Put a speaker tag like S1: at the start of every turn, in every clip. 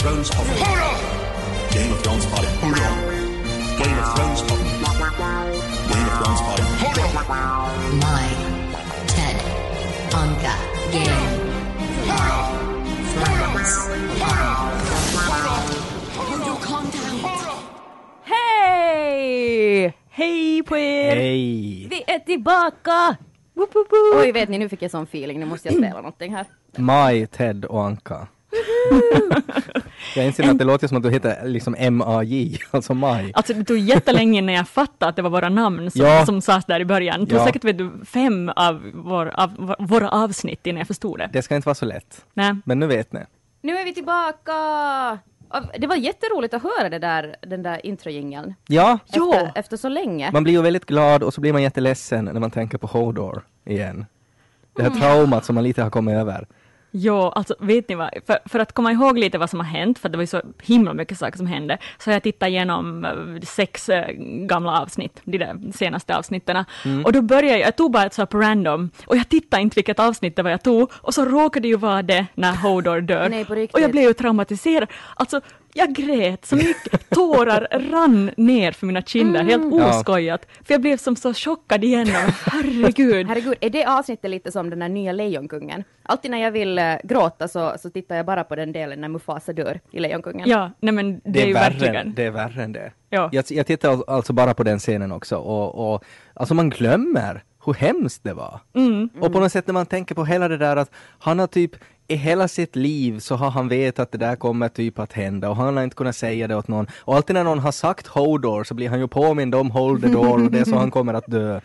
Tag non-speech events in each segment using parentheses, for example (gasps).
S1: Thrones hoppar. Hurra! Game of Thrones hoppar. Hurra! Game of Thrones hoppar. Game of Thrones hoppar. Hurra!
S2: My Ted Anka Game Friends.
S3: Hej! Hej på er!
S4: Hej!
S3: Vi är tillbaka! Woop, woop, woop. Oj, vet ni, nu fick jag sån feeling. Nu måste jag spela någonting här.
S4: Maj, Ted och Anka. jag inser att det låter som att du heter liksom M-A-J, (laughs) alltså Maj.
S5: Alltså det tog jättelänge innan jag fattade att det var våra namn som,
S4: Ja.
S5: som sades där i början. Det tog
S4: Ja.
S5: säkert vet du, fem av, vår, av vår- våra avsnitt innan jag förstod det.
S4: Det ska inte vara så lätt,
S5: Nej.
S4: men nu vet ni.
S3: Nu är vi tillbaka! Och Det var jätteroligt att höra det där, den där introjingeln.
S4: Ja,
S3: Efter, efter så länge.
S4: man blir ju väldigt glad och så blir man jätteledsen när man tänker på Hodor igen. Det här traumat som man lite har kommit över.
S5: Ja, alltså vet ni vad, för, för att komma ihåg lite vad som har hänt, för det var ju så himla mycket saker som hände, så har jag tittat igenom eh, sex eh, gamla avsnitt, de där senaste avsnitten. Och då började jag, jag tog bara ett så här på random, och jag tittade inte vilket avsnitt det var jag tog, och så råkade det ju vara det när Hodor dör.
S3: Nej, på riktigt.
S5: och jag blev ju traumatiserad. Alltså, jag grät så mycket, tårar rann ner för mina kinder,
S3: Mm.
S5: helt
S4: Ja.
S5: oskojat. För jag blev som så chockad igenom,
S3: (laughs)
S5: herregud.
S3: Herregud, är det avsnittet lite som den där nya Lejonkungen? Alltid när jag vill eh, gråta så, så tittar jag bara på den delen när Mufasa dör i Lejonkungen.
S5: Ja, nej men det, är ju verkligen.
S4: än, det är värre än det.
S5: Ja.
S4: Jag, jag tittar al- alltså bara på den scenen också och, och alltså man glömmer hur hemskt det var.
S5: Mm.
S4: Och på något sätt när man tänker på hela det där att han har typ i hela sitt liv så har han vetat att det där kommer typ att hända och han har inte kunnat säga det åt någon. Och alltid när någon har sagt Hodor så blir han ju påmind om Hold the door och det är så han kommer
S5: (laughs)
S4: att dö.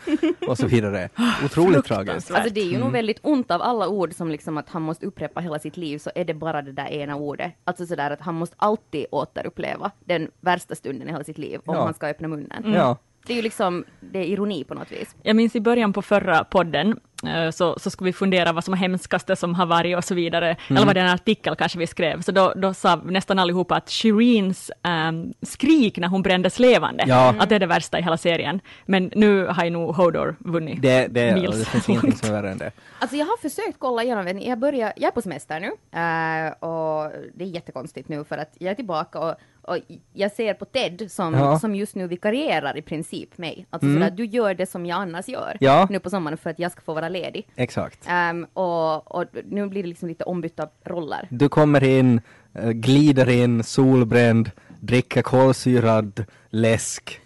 S4: Och så vidare. Otroligt tragiskt.
S3: Alltså det är ju
S4: Mm.
S3: nog väldigt ont av alla ord som liksom att han måste upprepa hela sitt liv så är det bara det där ena ordet. Alltså sådär att han måste alltid återuppleva den värsta stunden i hela sitt liv
S4: Ja.
S3: om
S4: Mm.
S3: han ska öppna munnen.
S5: Mm.
S4: Ja.
S3: Det är ju liksom, det är ironi på något vis.
S5: Jag minns i början på förra podden, eh, så, så skulle vi fundera vad som är hemskaste som har varit och så vidare.
S4: Mm.
S5: Eller var det en artikel kanske vi skrev, så då, då sa nästan allihopa att Shireens ehm, skrik när hon brändes levande,
S4: Ja.
S5: att det är det värsta i hela serien. Men nu har ju nog Hodor vunnit.
S4: Det, det,
S5: Mills.
S4: det finns ingenting som är värre än det.
S3: Alltså jag har försökt kolla igenom, vet ni, jag, börjar, jag är på semester nu eh, och det är jättekonstigt nu för att jag är tillbaka och, och jag ser på Ted som,
S4: Ja. Mm.
S3: som just nu vikarierar i princip mig. Alltså sådär, du gör det som jag annars gör
S4: Ja.
S3: nu på sommaren för att jag ska få vara ledig.
S4: Exakt.
S3: Ehm, och, och nu blir det liksom lite ombytta roller.
S4: Du kommer in, eh, glider in, solbränd, dricker kolsyrad
S5: (laughs)
S4: läsk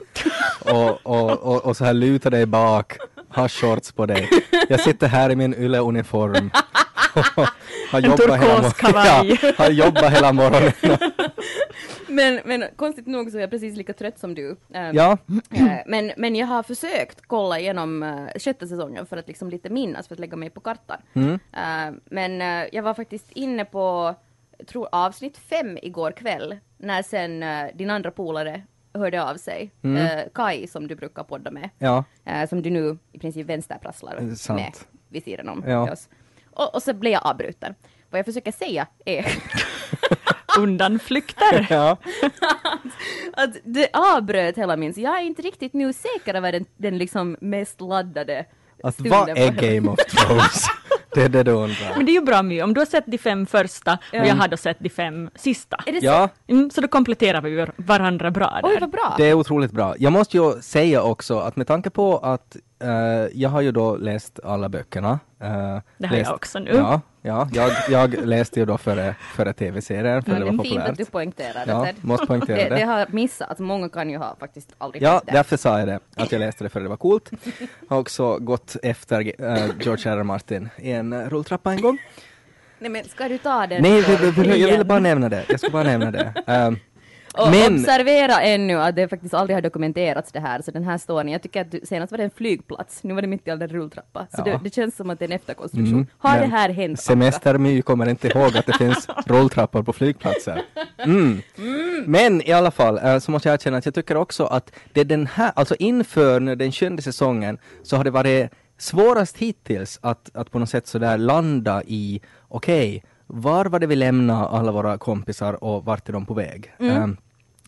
S4: och, och, och, och så här lutar dig bak, har shorts på dig. Jag sitter här i min ylleuniform.
S5: (laughs)
S4: har
S5: En turkos kavaj.
S4: (laughs) ja, har jobbat
S5: (laughs)
S4: hela morgonen.
S3: Men, men konstigt nog så är jag precis lika trött som du. Ehm,
S4: Ja,
S3: eh, men, men jag har försökt kolla igenom eh, sjätte säsongen för att liksom lite minnas, för att lägga mig på kartan.
S4: Mm.
S3: Ehm, men eh, jag var faktiskt inne på, jag tror avsnitt fem igår kväll, när sen eh, din andra polare hörde av sig,
S4: Mm.
S3: eh, Kai som du brukar podda med.
S4: ja,
S3: eh, som du nu i princip vänsterprasslar
S4: Eh, sant.
S3: med vid sidan om
S4: Ja.
S3: oss. Och, och så blev jag avbruten. Vad jag försöker säga är
S4: (laughs)
S5: (laughs) Undanflykter!
S4: ja.
S3: att det avbröt hela min, så jag är inte riktigt nu säker över den, den liksom mest laddade
S4: Att
S3: stunden
S4: Alltså, vad
S3: på
S4: är
S3: hela-
S4: Game of
S5: (laughs)
S4: Thrones? det är det du undrar.
S5: Men det är ju bra My, om du har sett de fem första och
S4: Mm.
S5: jag har då sett de fem sista.
S3: Är det
S4: Ja,
S5: Mm, så då kompletterar vi var- varandra bra
S3: så? Oj
S5: där.
S3: vad bra!
S4: Det är otroligt bra. Jag måste ju säga också att med tanke på att eh, jag har ju då läst alla böckerna. eh,
S5: jag
S4: läst,
S5: också nu.
S4: Ja, ja jag, jag läste ju då före, före tv-serien, för
S3: Men
S4: det
S3: det
S4: var
S3: är fint
S4: populärt.
S3: att du poängterar
S4: Ja,
S3: det.
S4: måste poängtera
S3: det.
S4: det.
S3: Det har missat, många kan ju ha faktiskt aldrig
S4: Ja,
S3: sett det.
S4: därför sa jag det, att jag läste det för det var coolt. Har också gått efter eh, George R. R. Martin i en eh, rulltrappa en gång.
S3: Nej men ska du ta den?
S4: Nej,
S3: för-
S4: jag, jag, jag ville bara nämna det. Jag skulle bara nämna det. Ehm,
S3: Och
S4: men-
S3: observera ännu att det faktiskt aldrig har dokumenterats det här, så den här storyn, jag tycker att du, senast var det en flygplats, nu var det mitt i all en rulltrappa. Så
S4: Ja. Mm.
S3: det, det känns som att det är en efterkonstruktion. har det
S4: men
S3: här hänt? Anka?
S4: Semestermy kommer inte ihåg att det
S3: (laughs)
S4: finns rulltrappor på flygplatser. Mm. Men i alla fall eh, så måste jag erkänna att jag tycker också att det är den här, alltså inför nu den sjunde säsongen så har det varit svårast hittills att, att på något sätt sådär landa i, okej, var var det vi lämnade alla våra kompisar och vart är de på väg? Eh,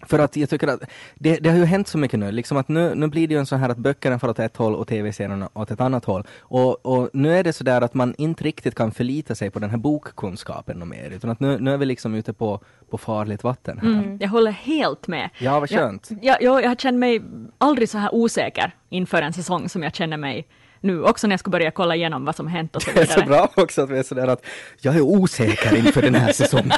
S4: För att jag tycker att det, det har ju hänt så mycket nu, liksom att nu, nu blir det ju en så här att böckerna far åt ett håll och tv-serierna åt ett annat håll. Och, och nu är det så där att man inte riktigt kan förlita sig på den här bokkunskapen och mer, utan att nu, nu är vi liksom ute på, på farligt vatten här.
S3: Mm.
S5: Jag håller helt med.
S4: Ja, vad skönt.
S5: Jag, jag, jag känner mig aldrig så här osäker inför en säsong som jag känner mig nu, också när jag ska börja kolla igenom vad som hänt och så
S4: (laughs) Det är
S5: vidare.
S4: så bra också att vi är sådär att jag är osäker inför den här säsongen.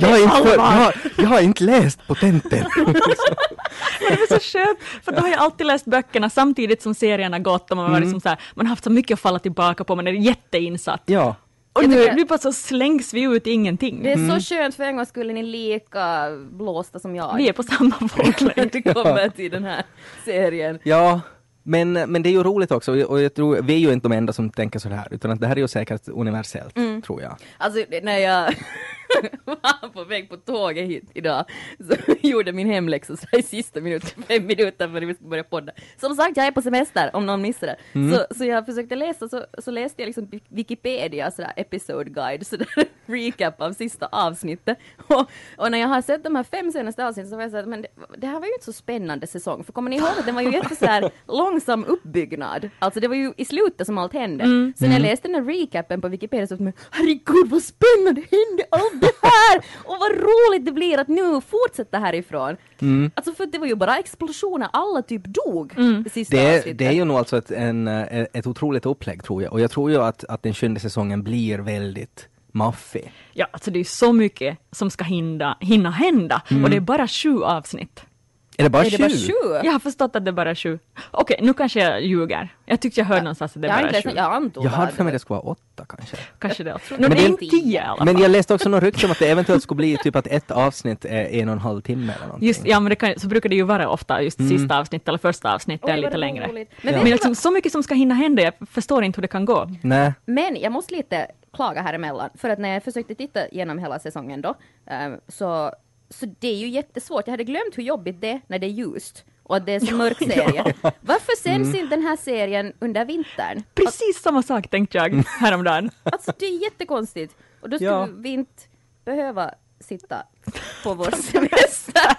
S4: Jag,
S5: är
S4: är inte, för- jag,
S5: allvar.
S4: har- jag har inte läst potenten.
S5: Men (laughs) det är så skönt, för då har jag alltid läst böckerna samtidigt som serierna gått och man har
S4: Mm.
S5: varit som så här, man har haft så mycket att falla tillbaka på, man är jätteinsatt.
S4: Ja,
S5: Och
S3: Jag
S5: nu,
S3: tycker-
S5: nu bara så slängs vi ut i ingenting.
S3: Det är
S4: Mm.
S3: så skönt för en gång skulle ni lika blåsta som jag.
S5: Vi är på samma
S3: (laughs)
S5: våglängd.
S3: det kommer till den här serien.
S4: ja. Men, men det är ju roligt också och jag tror, vi är ju inte de enda som tänker så här utan att det här är ju säkert universellt, tror jag.
S3: Alltså det- när jag (laughs) var på väg på tåget hit idag så (laughs) gjorde min hemläxa så här i sista minuten, fem minuter före vi skulle börja podda. Som sagt, jag är på semester om någon missade. Så, så jag försökte läsa, så, så läste jag liksom Wik- Wikipedia sådär episode guide, sådär (laughs) recap av sista avsnittet. (laughs) Och, och när jag har sett de här fem senaste avsnitten så var jag såhär, men det, det här var ju inte så spännande säsong, för kommer ni ihåg att den var ju jätte såhär långsam uppbyggnad? Alltså det var ju i slutet som allt hände. Så när jag läste den här recapen på Wikipedia så var jag herregud vad spännande hände allt det här! Och vad roligt det blir att nu fortsätta härifrån! Alltså för att det var ju bara explosioner, alla typ dog det sista
S4: Det,
S3: avsnittet.
S4: det är ju nog alltså ett, en, eh, ett otroligt upplägg tror jag och jag tror ju att, att den sjunde säsongen blir väldigt maffig.
S5: Ja, alltså det är ju så mycket som ska hinna, hinna hända
S4: Mm.
S5: och det är bara sju avsnitt.
S4: Är det bara
S3: är det bara
S4: sju?
S3: sju?
S5: Jag har förstått att det är bara sju. Okej, nu kanske jag ljuger. Jag tyckte jag hörde någonstans att det
S3: jag, har
S5: är
S3: inte
S5: bara
S3: läst,
S5: sju.
S3: jag antog
S4: Jag
S3: bara
S4: hade
S3: att
S4: för mig
S3: det
S4: det skulle vara åtta kanske.
S5: Kanske det. Alltså. Men
S3: det
S5: det
S3: är
S5: är
S3: inte-
S5: inte tio i alla fall.
S4: Men jag läste också något rykte om att det eventuellt skulle bli typ att ett avsnitt är en och en halv timme eller någonting.
S5: Just, ja, men det kan, så brukar det ju vara ofta, just sista avsnittet eller första avsnittet
S3: Mm. Oj,
S5: är
S3: vad
S5: lite
S3: det var
S5: längre.
S3: roligt. Men
S5: Men,
S3: vet
S5: men
S3: du
S5: liksom, så mycket som ska hinna hända, jag förstår inte hur det kan gå.
S4: Nej.
S3: Men jag måste lite klaga här emellan, för att när jag försökte titta igenom hela säsongen då, eh, så, så det är ju jättesvårt. Jag hade glömt hur jobbigt det är när det är ljust och att det
S4: (laughs)
S3: är så mörk serie. Varför sänds
S4: Mm.
S3: inte den här serien under vintern?
S5: Precis samma sak tänkte
S3: Mm.
S5: jag
S3: (laughs)
S5: häromdagen.
S3: Alltså det är jättekonstigt. Och då skulle
S4: Ja.
S3: vi inte behöva sitta
S4: (laughs)
S3: på vår semester.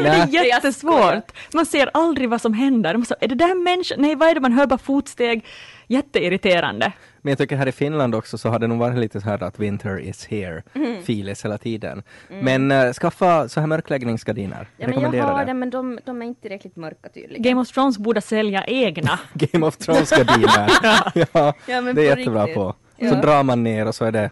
S5: Men det är
S4: Nej.
S3: Jag
S5: jättesvårt. Man ser aldrig vad som händer. Man så, är det där människa? Nej, vad är det? Man hör bara fotsteg. Jätteirriterande.
S4: Men jag tycker här i Finland också så har det nog varit lite så här att winter is here
S5: Mm.
S4: filis hela tiden. Men eh, skaffa så här mörkläggningsgardiner.
S3: Ja, men jag
S4: Rekommenderar
S3: har
S4: det.
S3: den men de, de är inte tillräckligt mörka tydligen.
S5: Game of Thrones borde sälja
S3: (laughs)
S5: egna.
S4: Game of
S5: (laughs)
S4: Thrones-gardiner. ja,
S3: Ja, men
S4: det är
S3: på
S4: jättebra
S3: riktigt.
S4: på.
S3: Ja.
S4: Så drar man ner och så är det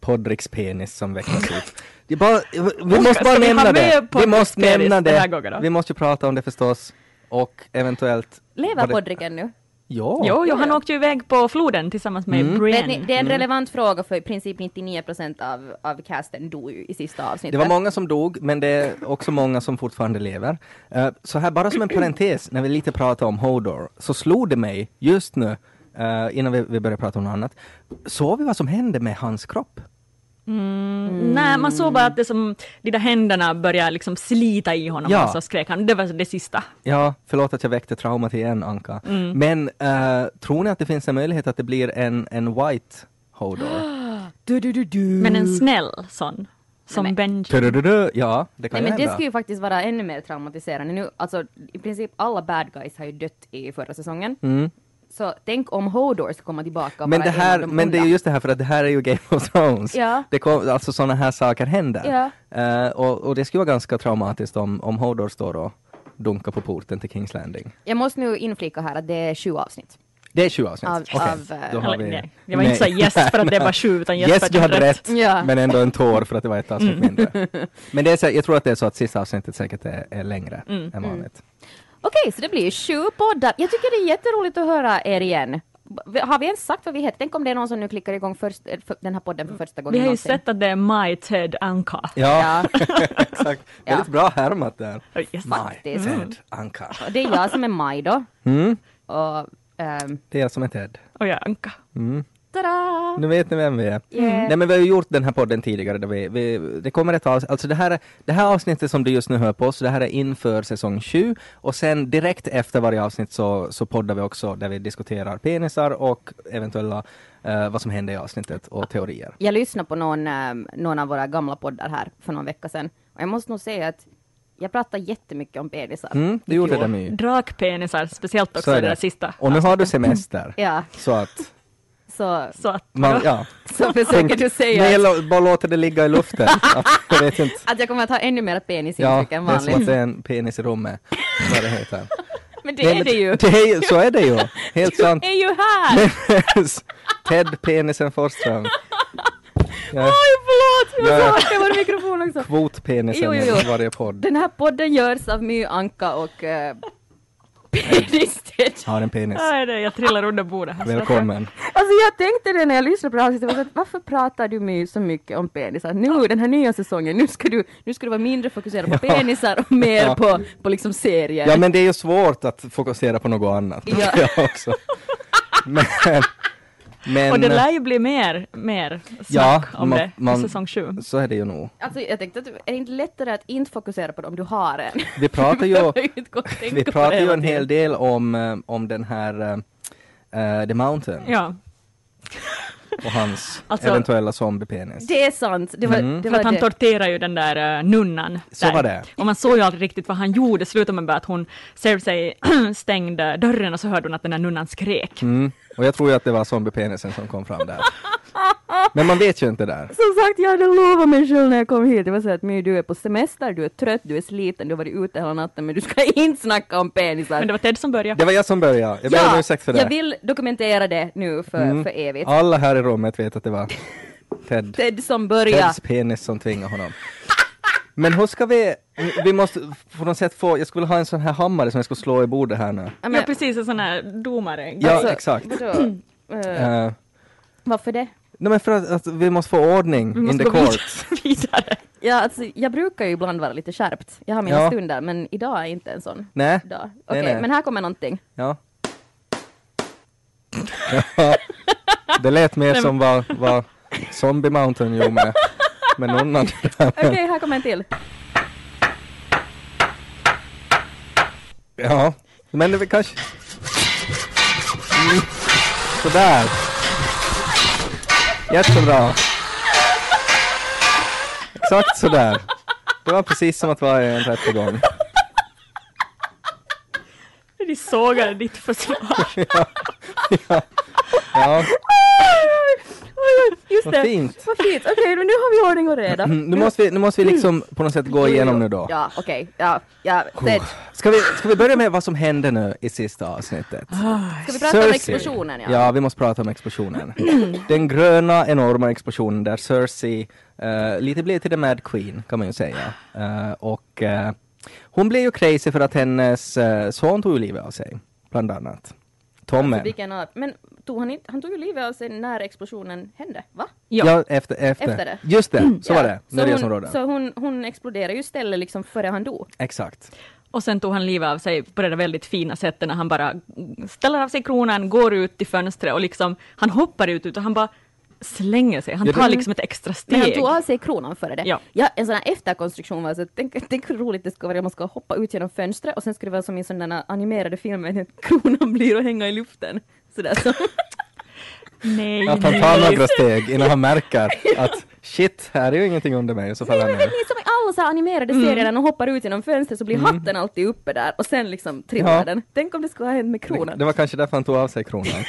S4: Podricks penis som vecklas ut. Det är bara,
S5: (laughs)
S4: vi måste
S5: ska
S4: bara
S5: vi ha
S4: nämna
S5: med
S4: det. Vi
S5: Podricks
S4: måste
S5: penis
S4: nämna
S5: den här gången
S4: det.
S5: då?
S4: Vi måste ju prata om det förstås. Och eventuellt...
S3: Lever
S4: vad det-
S3: Podricken nu?
S4: Ja.
S5: Jo, jo, han
S3: Oh, ja.
S5: åkte ju iväg på floden tillsammans med
S3: Vet ni,
S5: Brienne.
S3: det är en
S4: Mm.
S3: relevant fråga för i princip 99% av, av casten dog ju i sista avsnittet.
S4: Det var många som dog, men det är också många som fortfarande lever. Eh, så här, bara som en parentes, när vi lite pratar om Hodor, så slog det mig just nu, eh, innan vi, vi börjar prata om något annat, såg vi vad som hände med hans kropp?
S5: Nej, man såg bara
S4: Mm.
S5: att det som, de där händerna började liksom slita i honom
S4: Ja.
S5: och så skrek han. Det var det sista.
S4: Ja, förlåt att jag väckte traumat igen, Anka.
S3: Mm.
S4: Men eh, tror ni att det finns en möjlighet att det blir en, en white
S3: (gasps)
S4: Hodor?
S5: Men
S4: Mm.
S5: en snäll sån. Som
S3: Nej,
S5: Benji.
S4: Tudududu. Ja, det kan
S3: Nej men
S4: ju
S3: det skulle ju faktiskt vara ännu mer traumatiserande nu. Alltså i princip alla bad guys har ju dött i förra säsongen. Så tänk om Hodor ska komma tillbaka och
S4: Mm. Men,
S3: vara
S4: det
S3: en
S4: här,
S3: av de
S4: men det är
S3: onda.
S4: just det här för att det här är ju Game of Thrones.
S3: Ja.
S4: Det kom, alltså sådana här saker händer.
S3: Ja.
S4: Eh, och, och det skulle vara ganska traumatiskt om, om Hodor står och dunkar på porten till Kings Landing.
S3: Jag måste nu inflika här att det är sju avsnitt.
S4: Det är 20 avsnitt?
S3: Av-
S4: Okej,
S3: av, eh,
S4: då har
S5: eller,
S4: vi-
S5: nej. Jag var inte så här,
S4: Nej.
S5: yes, för att det
S4: (laughs)
S5: var sju, utan yes,
S4: Yes,
S5: för att
S4: du
S5: jag
S4: hade
S5: hade
S4: rätt.
S3: Ja. Mm.
S4: Men ändå en tår för att det var ett avsnitt mindre.
S3: (laughs)
S4: Men det är så, jag tror att det är så att sista avsnittet säkert är, är längre
S3: Mm.
S4: än vanligt.
S3: Okej, så det blir sju poddar. Jag tycker det är jätteroligt att höra er igen. B- Har vi ens sagt vad vi heter? Tänk om det är någon som nu klickar igång först, eh, för, den här podden för första gången
S5: Vi har ju
S3: någonsin.
S5: sett att det är My Ted Anka.
S4: Ja, (laughs) exakt.
S3: Ja.
S4: Väldigt bra härmat där.
S5: Oh, yes.
S4: My
S3: Faktiskt. Mm.
S4: Ted Anka.
S3: Och det är jag som är Maj då.
S4: Mm.
S3: Och, ehm,
S4: Det är jag som är Ted.
S5: Och jag är Anka.
S4: Mm.
S3: tada!
S4: Nu vet ni vem vi är. Nej men vi har ju gjort den här podden tidigare. Där vi, vi, det kommer ett avsnitt, alltså det här, det här avsnittet som du just nu hör på oss, det här är inför säsong 7 och sen direkt efter varje avsnitt så, så poddar vi också där vi diskuterar penisar och eventuella eh, vad som händer i avsnittet och teorier.
S3: ehm, jag lyssnade på någon, eh, någon av våra gamla poddar här för någon vecka sedan och jag måste nog säga att Jag pratar jättemycket om penisar.
S4: Mm, du gjorde det My.
S5: Drakpenisar, speciellt också
S4: Så
S5: det.
S4: är
S5: där
S4: det.
S5: sista.
S4: Och nu har du semester.
S3: Ja,
S4: Så att
S3: så,
S5: Så att,
S4: man, ja.
S3: så försöker du säga
S4: Nej,
S3: att-
S4: lå- bara låter det ligga i
S3: (laughs)
S4: luften. Att, jag vet inte.
S3: att jag kommer att ha ännu mer
S4: Ja,
S3: penisintryck
S4: det är
S3: än
S4: som att
S3: vanligt.
S4: det är en penis i rummet. Vad det heter.
S3: Men det är det ju.
S4: Det är, ju- så är det ju.
S3: (laughs)
S4: Helt sant.
S5: är ju här!
S4: (laughs) Ted penisen Forsström. Ja,
S3: Oj, förlåt! Jag
S4: Ja, ja.
S3: sa att det var mikrofon också.
S4: Kvotpenisen
S3: Jo, jo, jo.
S4: i varje podd.
S3: Den här podden görs av My Anka och uh,
S5: (laughs)
S3: Penis Ted.
S4: Har en penis.
S5: Ja, det, är- jag trillar under bordet här.
S4: Välkommen.
S3: Alltså jag tänkte det när jag lyssnade på det här avsnittet, jag var så att varför pratar du My så mycket om penisar? Nu den här nya säsongen, nu ska du, nu ska du vara mindre fokuserad på
S4: Ja.
S3: penisar och mer
S4: Ja.
S3: på, på liksom serier.
S4: Ja men det är ju svårt att fokusera på något annat.
S3: Ja.
S4: Jag också. Men, men
S5: Och det lär ju bli mer, mer
S4: Ja,
S5: snack om
S4: man-
S5: det
S4: man-
S5: i säsong 7.
S4: så är det ju nog.
S3: Alltså jag tänkte att är det inte lättare att inte fokusera på det om du har en?
S4: Vi pratar ju,
S3: (laughs) Jag kan
S4: (laughs)
S3: inte gå och tänka
S4: vi
S3: på
S4: pratar
S3: det
S4: ju
S3: hela
S4: en hel
S3: tiden.
S4: del om, eh, om den här eh, eh, The Mountain
S5: Ja,
S4: och hans
S5: Alltså-
S4: eventuella zombiepenis.
S3: Det är sant, det var det.
S4: Mm.
S5: för
S3: Var
S5: att han
S3: det.
S5: torterar ju den där eh, nunnan.
S4: Så
S5: där.
S4: var det.
S5: Och man såg ju aldrig riktigt vad han gjorde, slutade med bara att hon, (clears throat) Cersei stängde eh, dörren och så hörde hon att den där nunnan skrek.
S4: Mm. Och jag tror ju att det var zombiepenisen som kom fram där. Men man vet ju inte där.
S3: Som sagt, jag hade lovat mig själv när jag kom hit. Jag var så att My, du är på semester, du är trött, du är sliten, du har varit ute hela natten men du ska (laughs) inte snacka om penisar.
S5: Men det var Ted som började.
S4: Det var jag som började, jag ber om ursäkt för det. Mm.
S3: jag vill dokumentera det nu för, för evigt.
S4: Alla här i rummet vet att det var Ted.
S3: (laughs) Ted som börjar.
S4: Teds penis som tvingar honom. Men hur ska vi, vi måste på något sätt få, jag skulle vilja ha en sån här hammare som jag skulle slå i bordet här nu.
S5: Ja, precis, en sån här domare.
S4: Ja,
S3: Alltså,
S4: exakt.
S3: Vadå?
S4: (clears throat)
S3: Eh,
S4: Eh,
S3: varför det?
S4: nej men för att, att vi måste få ordning
S5: Vi
S4: in
S5: måste
S4: the
S5: gå
S4: court.
S5: vid- (laughs) vidare.
S3: Ja, alltså, jag brukar ju ibland vara lite skärpt. Jag har mina
S4: Ja.
S3: stunder, men idag är inte en sån
S4: Nej,
S3: dag. Okej,
S4: Nej, nej.
S3: men här kommer någonting.
S4: ja. Ja. det lät mer som vad, vad Zombie Mountain gjorde med, med någon annan.
S3: Okej, här kommer en till.
S4: Ja, men det är väl kanske... Mm. Sådär. Jättebra. Exakt sådär. Det var precis som att vara i en rättegång. (laughs)
S5: De sågade ditt försvar.
S4: (laughs) Ja,
S3: Just
S4: Vad
S5: Alltså,
S3: det.
S4: fint.
S3: Vad fint. Okej, men nu har vi ordning och reda.
S4: nu måste vi, nu måste vi liksom på något sätt Mm, gå igenom nu då.
S3: Ja, okej. Ja, ja. Ted,
S4: Ska vi, ska vi börja med vad som hände nu i sista avsnittet?
S3: ska vi Ah. prata om explosionen? Ja.
S4: vi måste prata om explosionen. (clears throat) Den gröna enorma explosionen där Cersei eh, lite blev till The Mad Queen kan man ju säga. Eh, och eh, hon blev ju crazy för att hennes eh, son tog ju livet av sig, bland annat. Tommen.
S3: Så Alltså, vilken av- Men tog han, inte, han tog ju livet av sig när explosionen hände, va?
S4: ja.
S5: Ja.
S4: efter, efter.
S3: Efter det.
S4: Just
S3: (clears throat)
S4: det, så
S3: Ja,
S4: var det.
S3: Så, hon,
S4: Nöjesområdet.
S3: så hon, hon exploderade ju stället liksom före han dog.
S4: Exakt.
S5: Och sen tog han livet av sig på det där väldigt fina sättet när han bara ställer av sig kronan, går ut till fönstret och liksom, han hoppar ut ut och han bara slänger sig. Han
S4: Ja, det-
S5: tar liksom ett extra
S3: Men han
S5: steg.
S3: tog av sig kronan före det. Ja.
S5: Ja.
S3: en sån här efterkonstruktion var så att tänk, tänk hur roligt det skulle vara om man ska hoppa ut genom fönstret och sen skulle det vara som i sådana där animerade filmer, att kronan (laughs) blir och hänga i luften. Sådär så.
S5: Nej,
S4: Att han tar några steg innan han märker
S3: (laughs)
S4: att shit, här är ju ingenting under mig. Så faller han
S3: Nej, men vet
S4: ner.
S3: ni, som i alla så här animerade
S4: Mm.
S3: serier när de hoppar ut genom fönstret så blir hatten alltid uppe där och sen liksom trillar
S4: Ja.
S3: den. Tänk om det skulle ha hänt med kronan.
S4: Det var kanske därför han tog av sig kronan.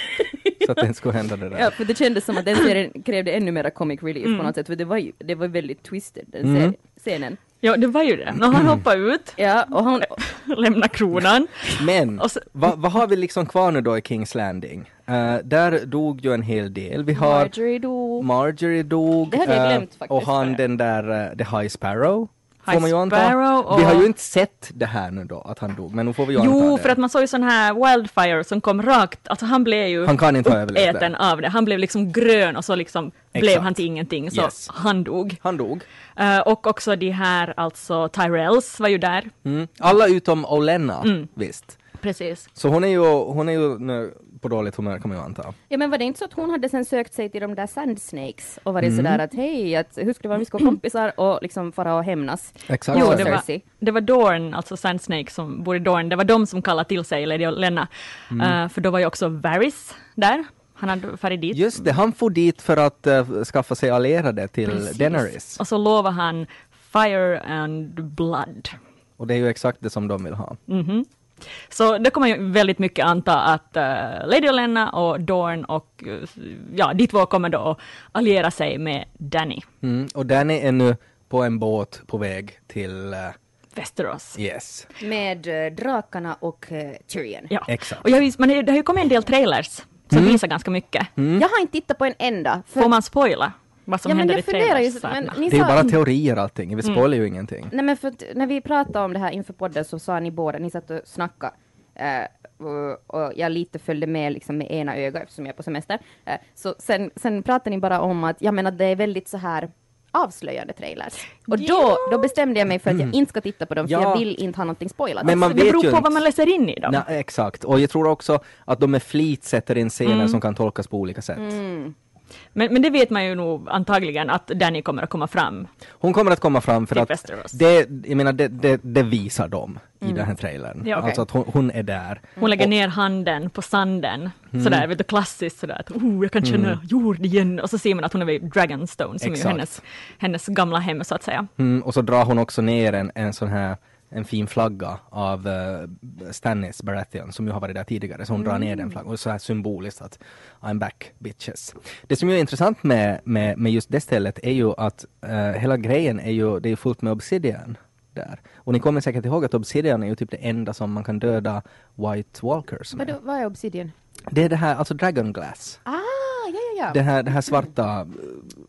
S4: Så att det inte skulle hända det Mm. där.
S5: (laughs)
S3: Ja, för det kändes som att den serien krävde ännu mera comic relief på något sätt, för det var ju det var väldigt twisted, den
S4: Mm.
S3: serien- scenen.
S5: Ja, det var ju det. När han hoppar ut,
S3: Ja, och
S4: Eh,
S3: han,
S5: (clears throat) lämnar kronan.
S4: Men,
S5: Och så-
S4: vad vad har vi liksom kvar nu då i Kings Landing? Eh, där dog ju en hel del. Vi har
S3: Marjorie dog.
S4: Marjorie dog.
S3: Det hade jag
S4: eh,
S3: glömt faktiskt,
S4: Och han
S3: bara.
S4: den där, eh, The High Sparrow.
S5: High
S4: får man ju anta.
S5: Sparrow och-
S4: Vi har ju inte sett det här nu då, att han dog, men nu får vi ju anta
S5: Jo,
S4: det.
S5: för att man såg ju sån här wildfire som kom rakt, alltså han blev ju
S4: Han kan inte ha överlevt
S5: uppäten
S4: det.
S5: av det. Han blev liksom grön och så liksom blev
S4: Exakt.
S5: han till ingenting, så
S4: Yes.
S5: han dog.
S4: Han dog.
S5: Eh, och också de här, alltså Tyrells var ju där.
S4: Mm. Alla utom Olenna,
S5: Mm.
S4: visst.
S5: Precis.
S4: Så hon är ju, hon är ju nu på dåligt humör kan man ju anta.
S3: ja men var det inte så att hon hade sen sökt sig till de där Sand Snakes och varit
S4: Mm.
S3: sådär att hej, att, hur skulle det vara om vi ska vara kompisar och liksom fara och hämnas?
S4: Exakt.
S5: Jo,
S3: Och
S5: det var,
S3: Cersei.
S5: det var Dorn, alltså Sand Snake som bor i Dorn, det var de som kallade till sig Lady Olenna.
S4: Mm.
S5: Eh, för då var ju också Varys där. Han hade farit dit.
S4: Just det, han får dit för att eh, skaffa sig allierade till
S5: Precis.
S4: Daenerys.
S5: Och så lovade han Fire and Blood.
S4: Och det är ju exakt det som de vill ha.
S5: Mm. Så då kommer jag väldigt mycket anta att eh, Lady Olenna och Dorn och eh, ja, de två kommer då att alliera sig med Danny
S4: Mm. Och Danny är nu på en båt på väg till eh,
S5: Västerås.
S4: Yes.
S3: Med eh, drakarna och eh, Tyrion.
S5: Ja.
S4: Exakt. Mm.
S5: Och jag vis, men det det har ju kommit en del trailers som visar ganska mycket.
S3: Jag har inte tittat på en enda. För,
S5: Får man spoila vad som
S3: ja, men
S5: händer
S3: jag
S5: i
S3: funderar
S5: trailers?
S3: ju, men ni
S4: Det är ju
S3: sa
S4: bara
S3: in-
S4: teorier allting,
S5: Mm.
S4: vi spoilar ju ingenting.
S3: Nej men för att när vi pratade om det här inför podden så sa ni båda, ni satt och snackade eh, och, och jag lite följde med liksom med ena ögat eftersom jag är på semester. Eh, så sen, sen pratade ni bara om att, jag menar det är väldigt så här avslöjande trailers. Och då, då bestämde jag mig för att jag inte ska titta på dem för
S4: Ja.
S3: jag vill inte ha någonting spoilat.
S4: Mm. Men man
S5: det
S4: vet
S5: beror på
S4: ju inte.
S5: vad man läser in i dem.
S4: Nej, exakt, och jag tror också att de med flit sätter in scener
S5: Mm.
S4: som kan tolkas på olika sätt.
S5: Men, men det vet man ju nog antagligen att Danny kommer att komma fram.
S4: Hon kommer att komma fram för
S5: Till
S4: att
S5: Västerås.
S4: det, jag menar, det, det, det visar de i den här trailern.
S5: Mm. Ja, okej.
S4: Alltså att hon, hon är där.
S5: Hon lägger ner handen på sanden, sådär
S4: Mm.
S5: vet du, klassiskt sådär att oh, jag kan känna jord igen och så ser man att hon är vid Dragonstone som är ju
S4: Exakt.
S5: hennes, hennes gamla hem så att säga.
S4: Mm, och så drar hon också ner en, en sån här en fin flagga av eh, Stannis Baratheon som ju har varit där tidigare, så hon drar ner
S3: Mm.
S4: den flaggan. Och så här symboliskt att I'm back bitches. Det som ju är intressant med, med, med just det stället är ju att eh, hela grejen är ju, det är ju fullt med Obsidian där. Och ni kommer säkert ihåg att Obsidian är ju typ det enda som man kan döda White Walkers med.
S3: Vadå, vad är Obsidian?
S4: Det är det här, alltså Dragon Glass.
S3: Ah, ja ja ja.
S4: Det här, det här svarta eh,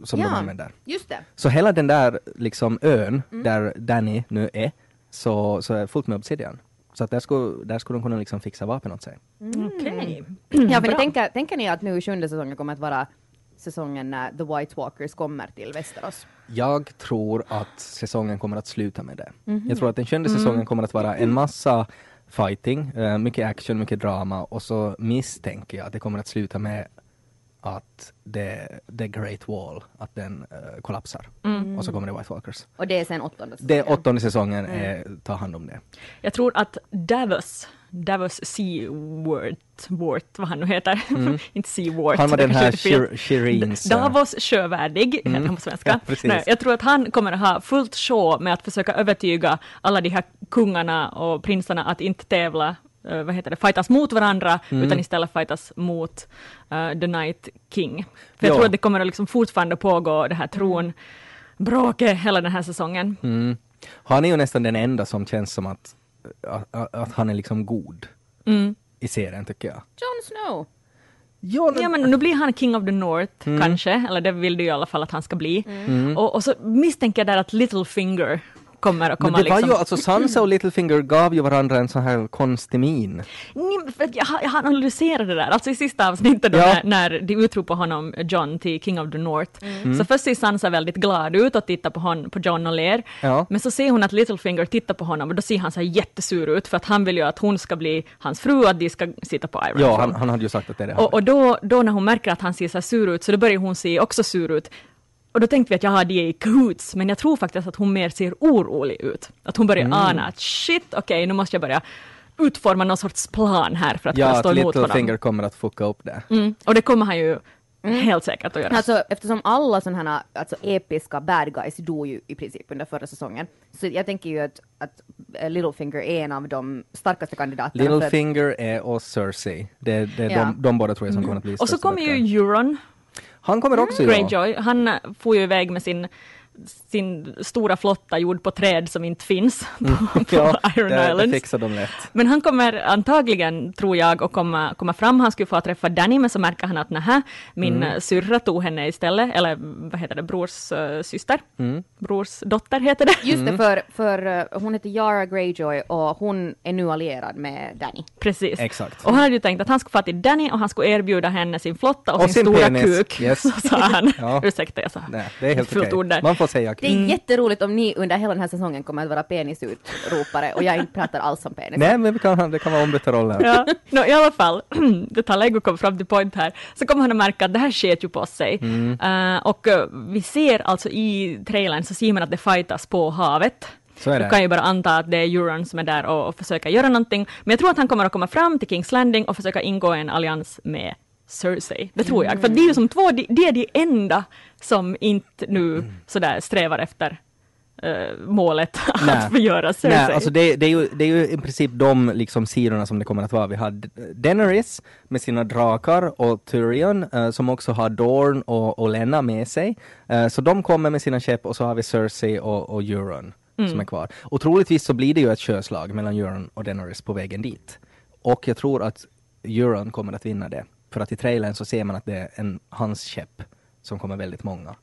S4: som
S3: ja,
S4: de använder.
S3: Just det.
S4: Så hela den där liksom ön
S5: Mm.
S4: där Danny nu är, så, så är fullt med obsidian. Så att där skulle, där skulle de kunna liksom fixa vapen åt sig.
S5: Okej.
S3: Ja, men tänker, tänker ni att nu sjunde säsongen kommer att vara säsongen när The White Walkers kommer till Västerås?
S4: Jag tror att säsongen kommer att sluta med det.
S5: Mhm.
S4: Jag tror att den sjunde
S5: Mm.
S4: säsongen kommer att vara en massa fighting, eh, mycket action, mycket drama och så misstänker jag att det kommer att sluta med att det, the Great Wall, att den eh, kollapsar.
S5: Mm.
S4: Och så kommer det White Walkers.
S3: Och det är sen åttonde säsongen?
S4: Det åttonde säsongen eh, tar hand om det.
S5: Jag tror att Davos, Davos Seaworth, Worth, vad han nu heter, (laughs) inte Seaworth.
S4: Mm. Han var
S5: det
S4: den
S5: kanske
S4: här
S5: inte är fel.
S4: Shir- Shirins... eh,
S5: Davos sjövärdig, heter han på
S4: Mm. (laughs) Ja,
S5: svenska.
S4: precis.
S5: Nej, jag tror att han kommer att ha fullt sjå med att försöka övertyga alla de här kungarna och prinsarna att inte tävla, eh, vad heter det, fightas mot varandra,
S4: Mm.
S5: utan istället fightas mot eh, The Night King. För jag
S4: Ja. Mm.
S5: tror att det kommer att liksom fortfarande pågå det här tron bråket hela den här säsongen.
S4: Han är ju nästan den enda som känns som att, att, att han är liksom god
S5: Mm.
S4: i serien tycker jag.
S3: Jon Snow!
S4: Ja,
S5: Ja men nu blir han King of the North
S4: Mm.
S5: kanske, eller det vill du i alla fall att han ska bli. Och, och så misstänker jag där att Littlefinger kommer att komma
S4: men det var
S5: liksom
S4: ju, alltså Sansa och Littlefinger gav ju varandra en sån här konstig min.
S5: Nej, men för att jag, jag analyserade det där, alltså i sista avsnittet då
S4: Ja.
S5: när, när de utropar honom, John, till King of the North.
S4: Mm.
S5: Så först ser Sansa väldigt glad ut och tittar på, hon, på John och ler.
S4: Ja.
S5: Men så ser hon att Littlefinger tittar på honom och då ser han så här jättesur ut för att han vill ju att hon ska bli hans fru och att de ska sitta på Iron
S4: Ja,
S5: Throne.
S4: han, han hade ju sagt att det är det han
S5: Och, och då, då när hon märker att han ser så här sur ut, så då börjar hon se också sur ut. Och då tänkte vi att ja, de är i cahoots, men jag tror faktiskt att hon mer ser orolig ut. Att hon
S4: Mm.
S5: börjar ana att shit, okej, nu måste jag börja utforma någon sorts plan här för att kunna
S4: Ja,
S5: stå
S4: att
S5: emot honom.
S4: Littlefinger kommer att fucka upp det.
S5: Mm. Och det kommer han ju helt säkert att göra.
S3: Alltså eftersom alla sådana här alltså, episka bad guys dog ju i princip under förra säsongen. Så jag tänker ju att, att eh, Littlefinger är en av de starkaste kandidaterna. för att-
S4: Littlefinger är och Cersei. Det, det,
S3: Ja.
S4: de, de båda tror jag som kommer att bli
S5: Mm. och så
S4: största
S5: kommer
S4: böcker.
S5: ju Euron
S4: Han kommer också ja.
S5: Greyjoy, han eh, får ju iväg med sin sin stora flotta gjord på träd som inte finns (laughs) (laughs) på, på
S4: Mm. Ja,
S5: Iron
S4: det, det
S5: Islands.
S4: fixar de lätt.
S5: Men han kommer antagligen, tror jag, att komma, komma fram. Han skulle få träffa Danny, men så märker han att nähä, min mm. syrra tog henne istället, eller vad heter det, brors eh, syster?
S4: Mm.
S5: Brors dotter heter det. (laughs)
S3: Just det, för, för eh, hon heter Yara Greyjoy och hon är nu allierad med Danny.
S5: Precis.
S4: Exakt.
S5: Och han hade ju tänkt att han skulle få till Danny och han skulle erbjuda henne sin flotta och,
S4: Och
S5: sin,
S4: sin
S5: stora
S4: penis.
S5: kuk. (laughs)
S4: Yes.
S5: Så sa han.
S4: (laughs) Ja.
S5: Ursäkta, jag sa
S4: Nej, det är helt
S5: fult
S4: okej.
S5: ord där.
S4: Man får säga
S3: Det är jätteroligt om ni under hela den här säsongen kommer att vara penisutrropare och jag inte pratar alls om penis.
S4: Nej, men vi kan, det kan vara ombytta roller.
S5: Ja, (laughs) no, i alla fall, (clears throat) det tar Lego kom fram till point här, så kommer han att märka att det här sket ju på sig.
S4: Mm.
S5: Eh, och eh, vi ser alltså i trailern så ser man att det fightas på havet.
S4: Så är det.
S5: Du kan ju bara anta att det är Euron som är där och, och försöker göra någonting. Men jag tror att han kommer att komma fram till Kings Landing och försöka ingå en allians med Cersei. Det tror jag. För
S4: Mm. Mm.
S5: det är ju som två, det de är de enda som inte nu sådär strävar efter eh, målet (laughs)
S4: Nej.
S5: att förgöra Cersei.
S4: Nej, alltså det, det, är ju, det är ju i princip de liksom sidorna som det kommer att vara. Vi har D- Daenerys med sina drakar och Tyrion eh, som också har Dorn och Olenna med sig. Eh, så de kommer med sina skepp och så har vi Cersei och, och Euron
S5: Mm.
S4: som är kvar. Och troligtvis så blir det ju ett köslag mellan Euron och Daenerys på vägen dit. Och jag tror att Euron kommer att vinna det. För att i trailern så ser man att det är en, hans skepp som kommer väldigt många.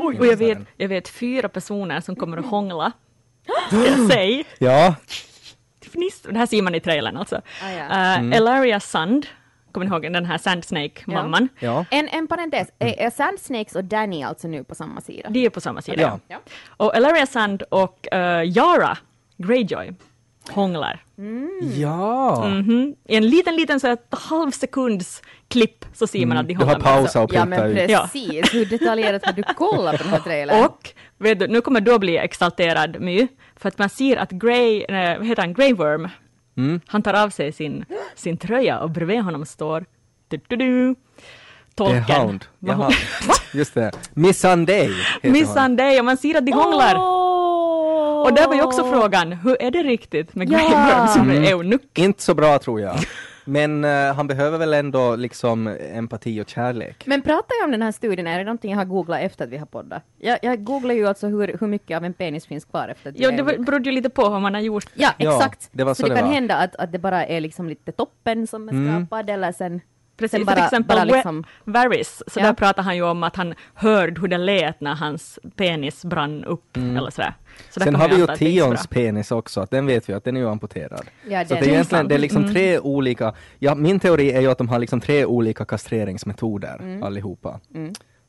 S5: Oj, och jag vet, jag vet fyra personer som kommer att hångla. Säg!
S4: Ja,
S5: fniss- Det här ser man i trailern alltså.
S3: Ah, ja.
S5: Eh,
S4: Mm.
S5: Elaria Sand, kommer ni ihåg den här Sand Snake-mamman?
S4: ja.
S3: En, en parentes, är, är Sand Snakes och Danny alltså nu på samma sida?
S5: De är på samma sida.
S4: Ja.
S3: Ja.
S5: Och Elaria Sand och eh, Yara Greyjoy hånglar.
S4: Ja!
S5: Mhm. I en liten, liten så här, halv sekunds klipp så ser man att de
S4: Mm. Du har
S5: håller med.
S4: pausat och
S3: Ja
S4: puttat
S3: men
S4: ut.
S3: precis, hur detaljerat har du kollat på den här trailern?
S5: Och vet du, nu kommer då bli exalterad My, för att man ser att Grey, nej, vad heter han, Grey Worm,
S4: Mm.
S5: han tar av sig sin, sin tröja och bredvid honom står du, du, du,
S4: Det är
S5: tolken.
S4: Hound.
S5: Vad
S4: Jaha.
S5: (laughs) hon-
S4: (laughs) Just det. Missandei heter
S5: Miss
S4: hon.
S5: Sunday, och man ser att de hånglar.
S3: Åh!
S5: Och där var ju också frågan, hur är det riktigt med Grey
S3: Ja.
S5: Worm som
S4: Mm.
S5: är eunuck?
S4: Inte så bra tror jag. Men eh, han behöver väl ändå liksom empati och kärlek.
S3: Men pratar jag om den här studien, är det någonting jag har googlat efter att vi har poddat? Jag, jag googlar ju alltså hur, hur mycket av en penis finns kvar efter att
S5: Ja,
S3: jag-
S5: det var- berodde ju lite på hur man har gjort.
S3: Ja,
S4: Ja,
S3: exakt.
S4: det var så
S3: det
S4: det
S3: kan
S4: var.
S3: hända att, att det bara är liksom lite toppen som är skrapad eller sen... sen
S5: Precis,
S3: bara,
S5: till exempel
S3: bara
S5: We-
S3: liksom,
S5: Varys, så
S3: Ja.
S5: där pratar han ju om att han hörde hur det lät när hans penis brann upp eller sådär. Så där
S4: Mm. Sen
S5: kan
S4: har
S5: man
S4: vi ju
S5: anta att det gick bra.
S4: Tions penis också, att den vet vi att den är ju amputerad.
S3: Ja,
S4: så
S3: den-
S4: att det är ju egentligen, det är liksom
S5: Mm.
S4: tre olika, ja min teori är ju att de har liksom tre olika kastreringsmetoder allihopa.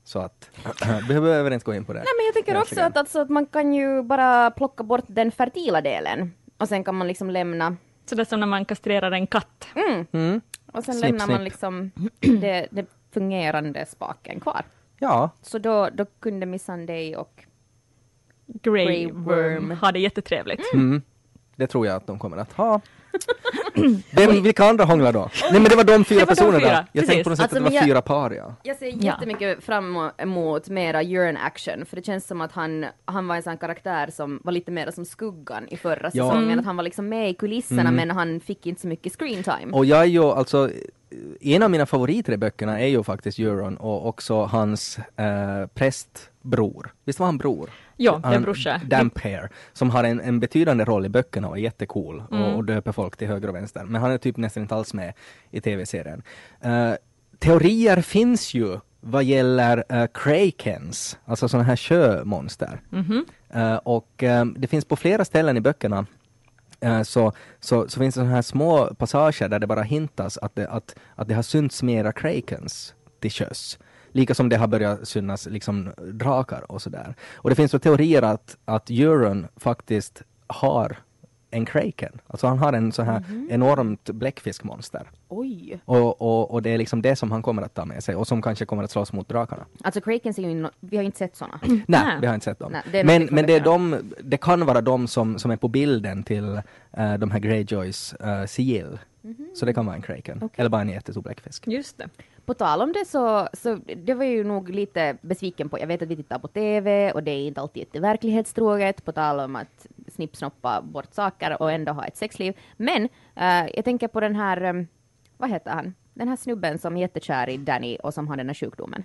S4: Så att, (clears throat) behöver vi inte gå in på det.
S3: Nej men jag tänker också
S4: egentligen.
S3: att, alltså, att man kan ju bara plocka bort den fertila delen och sen kan man liksom lämna
S5: Så det är som när man kastrerar en katt.
S3: Mm. och sen
S4: Snipp,
S3: lämnar man
S4: snipp.
S3: liksom det, det fungerande spaken kvar.
S4: Ja,
S3: Så då, då kunde missan dig och
S5: Grey,
S3: Grey
S5: worm.
S3: worm. Mm.
S5: har det jättetrevligt.
S4: Mm. det tror jag att de kommer
S5: (clears throat)
S4: att ha. Vem, vilka andra hånglar då? Nej men det var de fyra
S5: Det var de
S4: personerna.
S5: fyra,
S4: Jag
S5: precis.
S4: tänkte på något sätt
S3: Alltså,
S4: att
S3: men
S4: det var
S3: jag-
S4: fyra par ja.
S3: Jag ser
S5: Ja.
S3: jättemycket fram emot mera urine action, för det känns som att han, han var en sån karaktär som var lite mer som skuggan i förra säsongen, att han var liksom med i kulisserna men han fick inte så mycket screen time.
S4: Och jag är ju alltså, en av mina favoriter i böckerna är ju faktiskt Euron och också hans eh, prästbror. Visst var han bror?
S5: Ja, det är
S4: Han-
S5: brorsa.
S4: Damphair, som har en, en betydande roll i böckerna och är jättecool
S5: Mm.
S4: och, och döper folk till höger och vänster. Men han är typ nästan inte alls med i tv-serien. Eh, teorier finns ju vad gäller eh, krakens, alltså sådana här sjömonster.
S5: Mhm.
S4: Eh, och eh, det finns på flera ställen i böckerna eh, så, så, så finns det sådana här små passager där det bara hintas att det, att, att det har synts mera krakens till sjöss. Lika som det har börjat synas liksom drakar och sådär. Och det finns så teorier att, att Euron faktiskt har en kraken. Alltså han har en sån här enormt bläckfiskmonster.
S3: Oj!
S4: Och, och, och det är liksom det som han kommer att ta med sig och som kanske kommer att slåss mot drakarna.
S3: Alltså Krakens är ju, no- vi har ju inte sett såna.
S4: Nej,
S5: Nej.
S4: vi har inte sett dem.
S3: Nej, det är
S4: men
S3: någonting
S4: men det, är
S3: från
S4: de, det kan vara de som, som är på bilden till eh, de här Greyjoys uh, sigill.
S3: Mhm.
S4: Så det kan vara en kraken, eller bara en jättestor bläckfisk.
S5: Just det.
S3: På tal om det så, så det var jag ju nog lite besviken på, jag vet att vi tittar på TV och det är inte alltid jätteverklighetstroget, på tal om att snippsnoppa bort saker och ändå ha ett sexliv. Men eh, jag tänker på den här, eh, vad heter han, den här snubben som är jättekär i Danny och som har den här sjukdomen.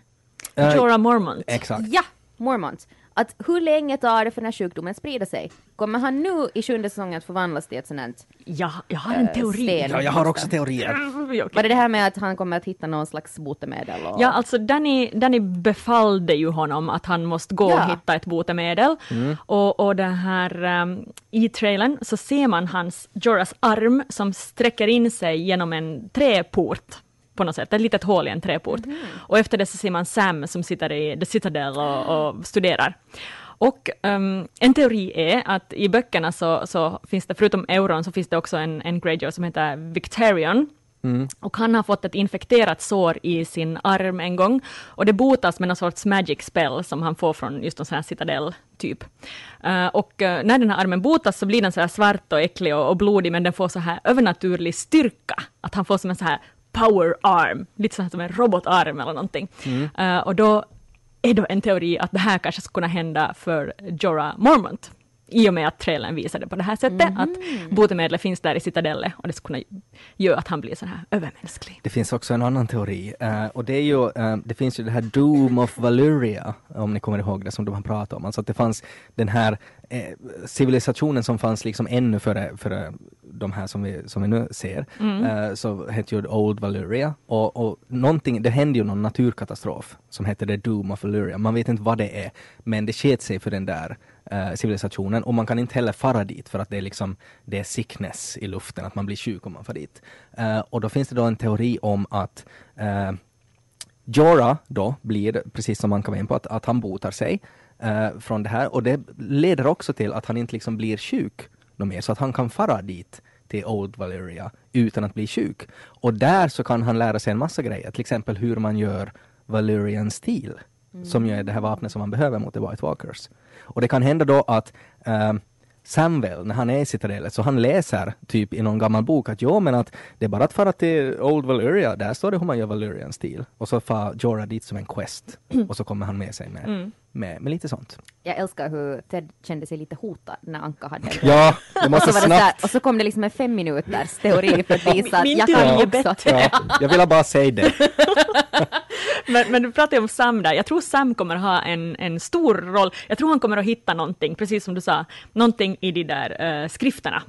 S4: Eh,
S5: Jorah Mormont.
S4: Exakt.
S3: Ja, Mormont. Att hur länge tar det för den här sjukdomen att sprida sig? Kommer han nu i sjunde säsongen att förvandlas till ett sånt här
S5: Ja, jag har en teori.
S3: Eh, sten.
S4: Ja, jag har också teorier.
S5: Ja, okej.
S3: Var det det här med att han kommer att hitta någon slags botemedel? Och...
S5: Ja, alltså Danny, Danny befallde ju honom att han måste gå och
S3: Ja.
S5: hitta ett botemedel. Och, och den här ehm, i trailern så ser man hans, Joras arm som sträcker in sig genom en träport på något sätt, ett litet hål i en träport. Och efter det så ser man Sam som sitter i The Citadel och, och studerar. Och ehm, en teori är att i böckerna så, så finns det, förutom euron, så finns det också en, en Greyjoy som heter Victarion. Och han har fått ett infekterat sår i sin arm en gång. Och det botas med någon sorts magic spell som han får från just en sån här citadell typ. Eh, och eh, när den här armen botas så blir den så här svart och äcklig och, och blodig men den får så här övernaturlig styrka. Att han får som en så här power arm, lite så här som en robotarm eller någonting. Eh, och då är då en teori att det här kanske skulle kunna hända för Jorah Mormont. i och med att trailern visade på det här sättet, att botemedlet finns där i citadellet och det skulle kunna göra att han blir så här övermänsklig.
S4: Det finns också en annan teori eh, och det är ju, eh, det finns ju det här Doom of Valyria, om ni kommer ihåg det som de har pratat om. Alltså att det fanns den här eh, civilisationen som fanns liksom ännu före, före de här som vi, som vi nu ser,
S3: Mm.
S4: eh, så hette ju Old Valyria och, och någonting, det hände ju någon naturkatastrof som hette det Doom of Valyria. Man vet inte vad det är, men det sket sig för den där eh, civilisationen och man kan inte heller fara dit för att det är liksom det är sickness i luften, att man blir sjuk om man far dit. Eh, och då finns det då en teori om att eh, Jorah då blir, precis som man kom in på, att, att han botar sig eh, från det här och det leder också till att han inte liksom blir sjuk något mer, så att han kan fara dit till Old Valyria utan att bli sjuk. Och där så kan han lära sig en massa grejer, till exempel hur man gör Valyrian Steel, som ju är det här vapnet som man behöver mot The White Walkers. Och det kan hända då att ehm, Samwell, när han är i citadellet, så han läser typ i någon gammal bok att jo men att det är bara att fara till Old Valyria, där står det hur man gör Valyrian stil. Och så far Jorah dit som en quest och så kommer han med sig med, med, med lite sånt.
S3: Jag älskar hur Ted kände sig lite hotad när Anka hade det.
S4: Ja, det
S3: Och
S4: måste
S3: så, var det så här,
S4: snabbt.
S3: och så kom det liksom en fem minuters teori för att visa att
S5: Min
S3: jag
S5: teori
S3: kan
S5: är
S3: ju också.
S5: bättre.
S4: Ja, jag ville bara säga det.
S5: Men, men du pratar ju om Sam där, jag tror Sam kommer ha en, en stor roll. Jag tror han kommer att hitta någonting, precis som du sa, någonting i de där eh, skrifterna.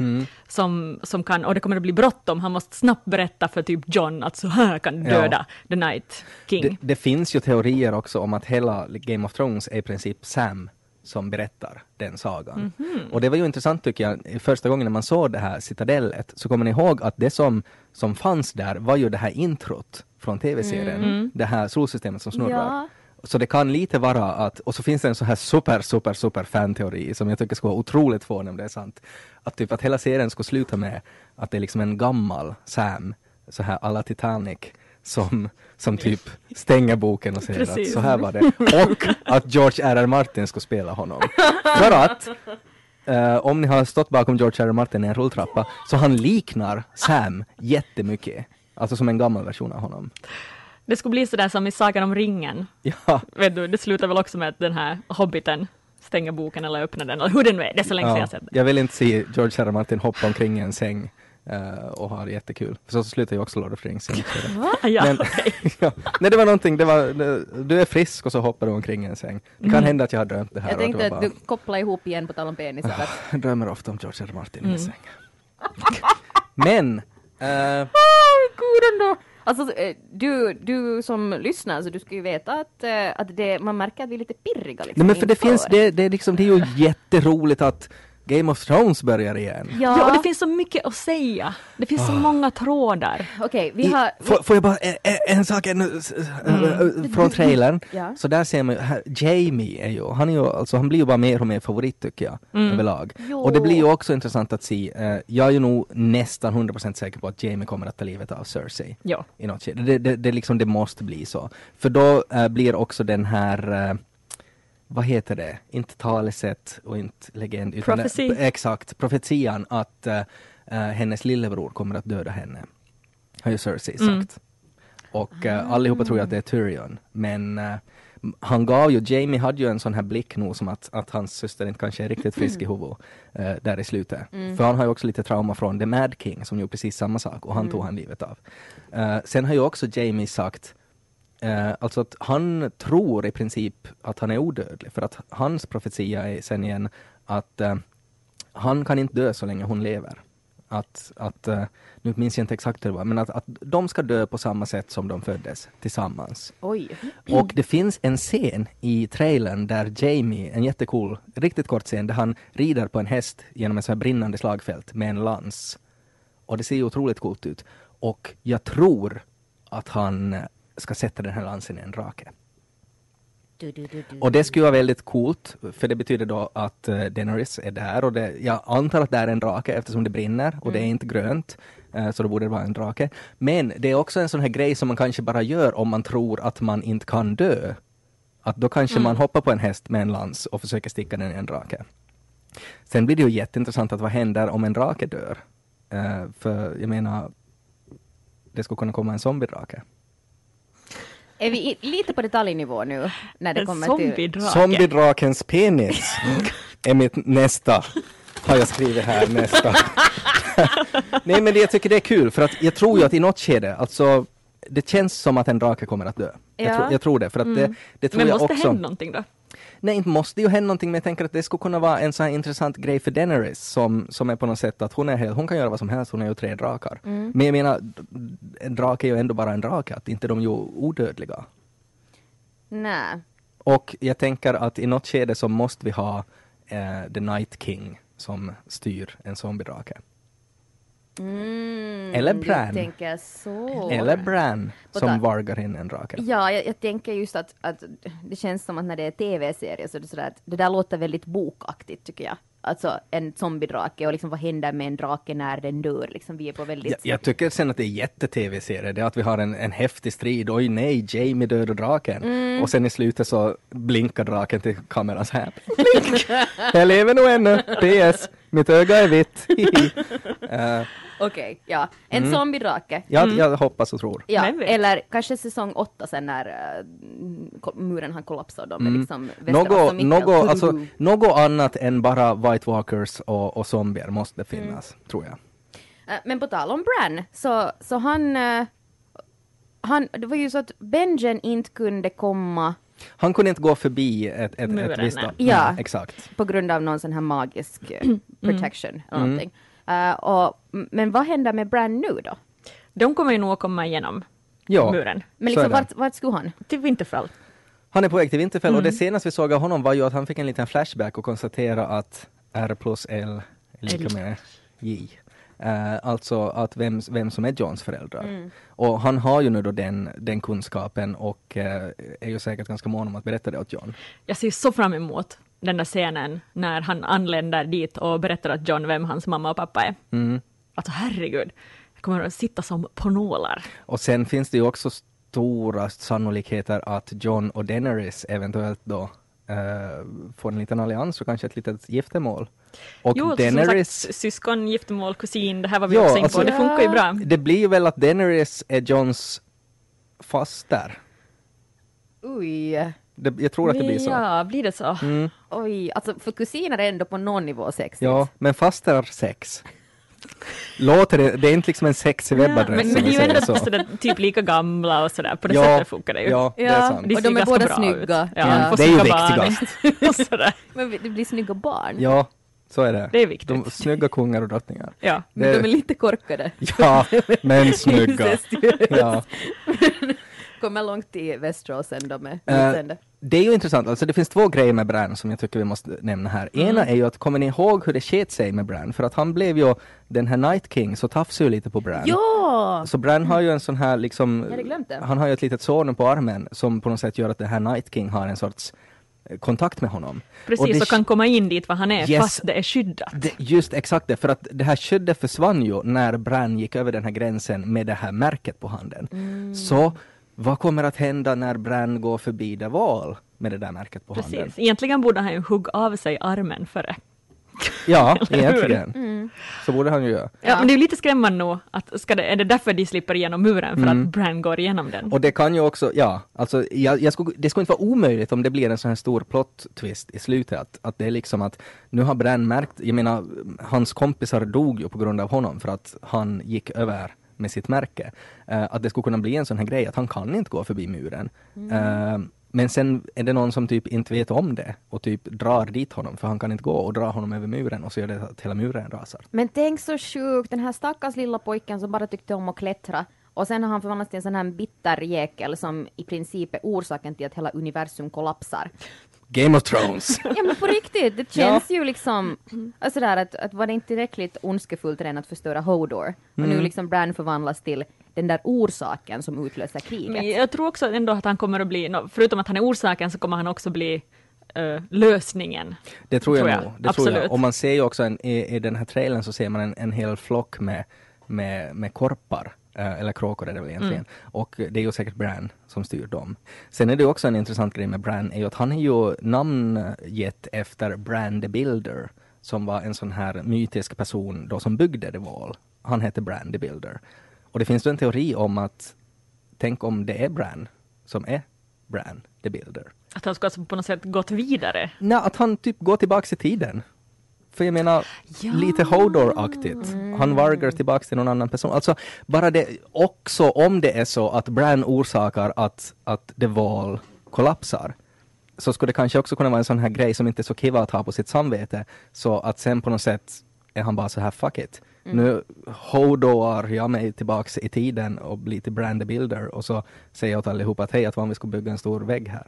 S5: Som, som kan, och det kommer att bli bråttom, han måste snabbt berätta för typ John att så här kan du
S4: Ja.
S5: döda The Night King.
S4: Det, det finns ju teorier också om att hela Game of Thrones är i princip Sam som berättar den sagan. Och det var ju intressant tycker jag, första gången när man såg det här citadellet, så kommer ni ihåg att det som, som fanns där var ju det här introt från tv-serien, det här solsystemet som snurrar.
S3: Ja.
S4: Så det kan lite vara att, och så finns det en så här super, super, super fan-teori som jag tycker skulle vara otroligt fånig om det är sant. Att typ att hela serien skulle sluta med att det är liksom en gammal Sam, så här alla Titanic, som, som typ stänger boken och säger att
S5: Precis.
S4: så här var det. Och att George R.R. Martin skulle spela honom. För att eh, om ni har stått bakom George R.R. Martin i en rulltrappa, så han liknar Sam jättemycket. Alltså som en gammal version av honom.
S5: Det skulle bli sådär som i Sagan om ringen.
S4: Ja,
S5: Vet du, det slutar väl också med att den här hobbiten stänger boken eller öppnar den, eller hur det nu är, det är så länge sedan
S4: ja.
S5: jag sett det.
S4: Jag vill inte se George R.R. Martin hoppa omkring i en säng eh, och ha det jättekul. För så slutar ju också Lord of the Rings.
S5: (laughs) Ja,
S4: Men-
S5: okej.
S4: (laughs) ja. Nej det var någonting, det var, det- du är frisk och så hoppar du omkring i en säng. Det kan hända att jag har drömt det här.
S3: Jag
S4: och det Ah.
S3: tänkte
S4: var
S3: att du kopplar ihop igen på tal om penisar. Att
S4: Jag drömmer ofta om George R. R. Martin i min säng. (laughs) Men, eh,
S3: Åh, gud Ah, ändå! Alltså, eh, du, du som lyssnar, så du ska ju veta att, eh, att det, man märker att vi är lite pirriga. Liksom,
S4: nej men för det finns,
S3: inför.
S4: det, det, är liksom, det är ju jätteroligt att Game of Thrones börjar igen.
S3: Ja,
S5: ja, och det finns så mycket att säga. Det finns
S4: Ah.
S5: så många trådar.
S3: okej, vi
S4: I-
S3: har...
S4: får, får jag bara en, en- en sak ännu s- s-
S3: Mm.
S4: äh, äh, från trailern?
S3: Ja.
S4: Så där ser man ju, här, Jamie är ju, han, är ju alltså, han blir ju bara mer och mer favorit tycker jag överlag.
S3: Mm. Jo.
S4: Och det blir ju också intressant att se, eh, jag är ju nog nästan 100% säker på att Jamie kommer att ta livet av Cersei.
S5: Ja.
S4: I något skede. Det, det, det, liksom, det måste bli så. För då eh, blir också den här eh, vad heter det, inte talesätt och inte legend. Utan
S5: Prophecy.
S4: Det, exakt, profetian att eh, eh, hennes lillebror kommer att döda henne. Har ju Cersei sagt. Och eh, allihopa tror ju att det är Tyrion. Men eh, m- han gav ju, Jamie hade ju en sån här blick nog som att, att hans syster inte kanske är riktigt frisk i huvudet eh, där i slutet. För han har ju också lite trauma från The Mad King som gjorde precis samma sak och han tog han livet av. Eh, sen har ju också Jamie sagt Eh, alltså att han tror i princip att han är odödlig, för att hans profetia är sen igen att eh, han kan inte dö så länge hon lever. Att, att eh, nu minns jag inte exakt hur det var, men att, att de ska dö på samma sätt som de föddes, tillsammans.
S3: Oj.
S4: Och det finns en scen i trailern där Jamie, en jättecool, riktigt kort scen, där han rider på en häst genom ett så här brinnande slagfält med en lans. Och det ser ju otroligt coolt ut. Och jag tror att han ska sätta den här lansen i en drake.
S2: Du, du, du, du.
S4: Mm. Och det skulle vara väldigt coolt, för det betyder då att eh, Daenerys är där och det, jag antar att det är en drake eftersom det brinner och det är inte grönt. eh, Så det borde vara en drake. Men det är också en sån här grej som man kanske bara gör om man tror att man inte kan dö. Att då kanske man hoppar på en häst med en lans och försöker sticka den i en drake. Sen blir det ju jätteintressant att vad händer om en drake dör? Eh, för jag menar, det skulle kunna komma en zombie-drake.
S3: Är vi i, lite på detaljnivå nu? När det kommer till...
S5: Zombiedrake.
S4: Zombiedrakens penis är mitt nästa. Har jag skrivit här
S5: (laughs)
S4: nästa. Nej men det, jag tycker det är kul för att jag tror ju att i något skede, alltså det känns som att en drake kommer att dö. Jag,
S3: Ja.
S4: tror- jag tror det, för att det, det tror
S5: Mm. Men
S4: jag
S5: måste
S4: också.
S5: det hända någonting då?
S4: Nej, inte måste ju hända någonting, men jag tänker att det skulle kunna vara en sån här intressant grej för Daenerys som, som är på något sätt att hon är helt, hon kan göra vad som helst, hon är ju tre drakar.
S5: Mm.
S4: Men jag menar, en drake är ju ändå bara en drake, att inte de är ju odödliga.
S3: Nej.
S4: Och jag tänker att i något skede så måste vi ha eh, The Night King som styr en zombiedrake.
S3: Mm,
S4: Eller
S3: Du
S4: Bran.
S3: tänker så.
S4: Eller Bran
S3: But
S4: som
S3: I-
S4: vargar in en drake.
S3: Ja, jag, jag tänker just att, att det känns som att när det är tv-serier så är det sådär att det där låter väldigt bokaktigt tycker jag. Alltså en zombiedrake och liksom vad händer med en drake när den dör liksom vi är på väldigt...
S4: Jag, jag tycker sen att det är jätte-tv-serie, det är att vi har en, en häftig strid, oj nej, Jamie dödar draken. Och sen i slutet så blinkar draken till kamerans här. Blink! (laughs) jag lever nog ännu, PS, mitt öga är vitt. (laughs) Hihi. Eh,
S3: Okej, ja. En
S4: Mm.
S3: zombiedrake.
S4: jag, jag hoppas och tror.
S3: Ja,
S5: Vem vet?
S3: eller kanske säsong åtta sen när eh, ko- muren har kollapsat och de är liksom Västerås
S4: Mm. Något,
S3: och mitt i
S4: något,
S3: allt.
S4: alltså, något annat än bara White Walkers och, och zombier
S3: Mm.
S4: måste finnas, tror jag.
S3: Eh, Men på tal om Bran, så, så han, eh, han... Det var ju så att Benjen inte kunde komma
S4: Han kunde inte gå förbi ett, ett, ett
S5: Muren,
S4: visst... Mm,
S5: nej.
S3: Ja.
S4: Exakt.
S3: på grund av någon sån här magisk eh,
S4: Mm.
S3: protection eller någonting. Eh, och, men vad händer med Bran nu då?
S5: De kommer ju nog att komma igenom
S4: Ja,
S5: muren.
S3: Men
S4: så är
S3: liksom
S4: det.
S3: vart, vart skulle han?
S5: Till Winterfell.
S4: Han är på väg till Winterfell och det
S3: Mm.
S4: senaste vi såg av honom var ju att han fick en liten flashback och konstatera att R plus L är lika
S5: L.
S4: med J. Eh, alltså att vem, vem som är Johns föräldrar.
S3: Mm.
S4: Och han har ju nu då den, den kunskapen och eh, är ju säkert ganska mån om att berätta det åt John.
S5: Jag ser så fram emot den där scenen när han anländer dit och berättar att John, vem hans mamma och pappa är.
S4: Mm.
S5: Alltså herregud, jag kommer att sitta som på nålar.
S4: Och sen finns det ju också stora sannolikheter att John och Daenerys eventuellt då eh, får en liten allians och kanske ett litet giftermål. Och
S5: Jo, alltså, som sagt,
S4: Daenerys
S5: syskon, giftermål, kusin, det här var vi
S4: Ja,
S5: också in på,
S4: alltså-
S5: det funkar ju bra.
S4: Det blir väl att Daenerys är Johns faster.
S3: Oj,
S4: Det, jag tror att det blir så. Mm.
S5: Ja, blir det så?
S3: oj, alltså för kusiner är ändå på någon nivå sexigt.
S4: Ja, men faster sex. Låter det, det är inte liksom en sexig
S5: men,
S4: webbadress
S5: men det
S4: om
S5: är
S4: vi
S5: ju
S4: säger
S5: ändå
S4: så.
S5: sådär, typ lika gamla och sådär, på det
S4: Ja,
S5: sättet funkar det ju.
S4: ja, det är sant.
S5: ser
S3: Och de är
S5: ganska
S3: båda
S5: bra
S3: snygga.
S5: Ut. Ja,
S3: Ja.
S5: de får
S4: Det är ju
S5: snygga barn. (laughs) och sådär.
S3: Men det blir snygga barn.
S4: Ja, så är det.
S5: Det är viktigt.
S4: De, snygga kungar och drottningar.
S5: Ja.
S3: Men de är
S4: Det,
S3: lite korkade.
S4: ja,
S3: (laughs)
S4: men snygga. Ja.
S3: Kommer långt i Västerås sen de är
S4: Eh,
S3: utseende.
S4: det är ju intressant, alltså det finns två grejer med Bran som jag tycker vi måste nämna här.
S3: Mm.
S4: Ena är ju att, kommer ni ihåg hur det sket sig med Bran? För att han blev ju, den här Night King, så tafsade ju lite på Bran.
S3: Ja!
S4: Så Bran har ju en sån här liksom,
S3: Jag hade glömt det.
S4: han har ju ett litet sår på armen som på något sätt gör att det här Night King har en sorts eh, kontakt med honom. Och det
S5: Precis, och kan komma in dit var han är,
S4: Yes.
S5: fast det är skyddat.
S4: det, just exakt det, för att det här skyddet försvann ju när Bran gick över den här gränsen med det här märket på handen.
S5: Mm.
S4: Så vad kommer att hända när Bran går förbi The Wall med det där märket på handen?
S5: Precis, egentligen borde han ju hugga av sig armen före.
S4: Ja,
S5: (laughs) Eller hur? Mm.
S4: egentligen. Så borde han ju göra.
S5: Ja, men det är ju lite skrämmande nog att, ska det, är det därför de slipper igenom muren, för
S4: Mm.
S5: att Bran går igenom den?
S4: Och det kan ju också, ja, alltså jag, jag skulle, det skulle inte vara omöjligt om det blir en sån här stor plot twist i slutet. Att, att det är liksom att nu har Bran märkt, jag menar hans kompisar dog ju på grund av honom för att han gick över med sitt märke. Eh, att det skulle kunna bli en sån här grej att han kan inte gå förbi muren. Eh, men sen är det någon som typ inte vet om det och typ drar dit honom för han kan inte gå och drar honom över muren och så gör det att hela muren rasar.
S3: Men tänk så sjukt, den här stackars lilla pojken som bara tyckte om att klättra och sen har han förvandlats till en sån här bitter jäkel som i princip är orsaken till att hela universum kollapsar.
S4: Game of (laughs) Thrones!
S3: Ja men på riktigt, det känns ju liksom alltså där att, att var det inte tillräckligt ondskefullt redan att förstöra Hodor och
S5: Mm.
S3: nu liksom Bran förvandlas till den där orsaken som utlöser kriget.
S5: Men jag tror också ändå att han kommer att bli, nå- förutom att han är orsaken, så kommer han också bli eh, lösningen.
S4: Det tror jag,
S5: Tror jag.
S4: nog. Det tror
S5: Absolut.
S4: jag. Och man ser ju också en, i, i den här trailern så ser man en, en hel flock med, med, med korpar. eh, Eller kråkor är det väl egentligen.
S5: Mm.
S4: Och det är ju säkert Bran som styr dem. Sen är det också en intressant grej med Bran, är ju att han är ju namngett efter Bran the Builder, som var en sån här mytisk person då som byggde The Wall. Han hette Bran the Builder. Och det finns ju en teori om att, tänk om det är Bran som är Bran the Builder.
S5: Att han skulle alltså på något sätt gått vidare.
S4: Nej, att han typ går tillbaks i tiden. För jag menar,
S5: Ja.
S4: lite Hodor-aktigt. Han vargar tillbaks till någon annan person. Alltså, bara det, också om det är så att Bran orsakar att, att The Wall kollapsar, så skulle det kanske också kunna vara en sån här grej som inte är så kiva att ha på sitt samvete, så att sen på något sätt är han bara så här fuck it. Nu hodoar jag mig tillbaks i tiden och blir till Bran the Builder och så säger jag åt allihopa att hej, att vad om vi skulle bygga en stor vägg här?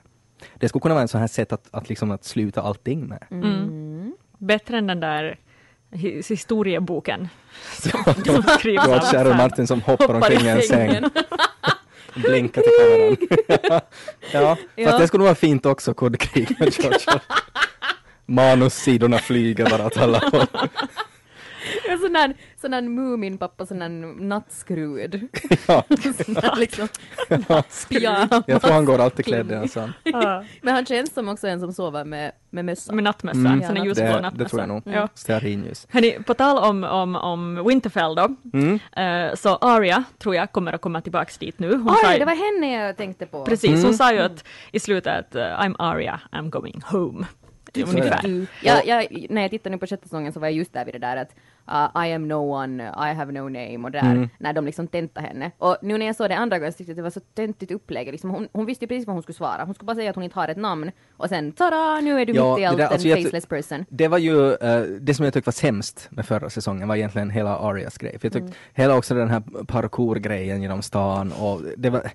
S4: Det skulle kunna vara en sån här sätt att, att, liksom att sluta allting med.
S5: Bättre än den där hi- historieboken (laughs) som, som skrivs av
S4: George R. R.
S5: Sam. (laughs)
S4: Martin som hoppar,
S5: Hoppar
S4: omkring i en (laughs) säng. Blinkar till (laughs) kameran. ja, fast det skulle vara fint också, kodkrig med George R. Manussidorna flyger bara åt alla håll. (laughs)
S3: En sån där, sån där Muminpappa, sån där nattskrud.
S4: Ja,
S3: liksom, pyjamas.
S4: jag tror han går alltid klädd i en sån.
S5: Ja,
S3: Men han känns som också en som sover med, med mössa.
S5: Med nattmössa,
S4: Mm.
S5: sån här ljusblå
S4: Det,
S5: nattmössa.
S4: det tror jag nog.
S5: Ja.
S4: Stearinljus.
S5: Hörni, på tal om, om, om Winterfell då,
S4: Mm.
S5: eh, så Arya tror jag kommer att komma tillbaks dit nu. Hon sa
S3: Oj,
S5: ju-
S3: det var henne jag tänkte på.
S5: Precis,
S4: Mm.
S5: hon sa ju att i slutet att eh, I'm Arya, I'm going home. Ungefär.
S3: Mm. Jag, jag, när jag tittar nu på sjätte säsongen så var jag just där vid det där att uh, I am no one, I have no name och där,
S4: Mm.
S3: när de liksom tentade henne. Och nu när jag såg det andra gången så tyckte jag att det var så töntigt upplägg. Liksom hon, hon visste ju precis vad hon skulle svara. Hon skulle bara säga att hon inte har ett namn och sen tada, nu är du
S4: Ja,
S3: mitt i
S4: det
S3: allt
S4: där-
S3: en
S4: alltså jag ty-
S3: faceless person.
S4: Det var ju, eh, det som jag tyckte var sämst med förra säsongen var egentligen hela Arias grej. För jag tyckte hela också den här parkour-grejen genom stan och det var...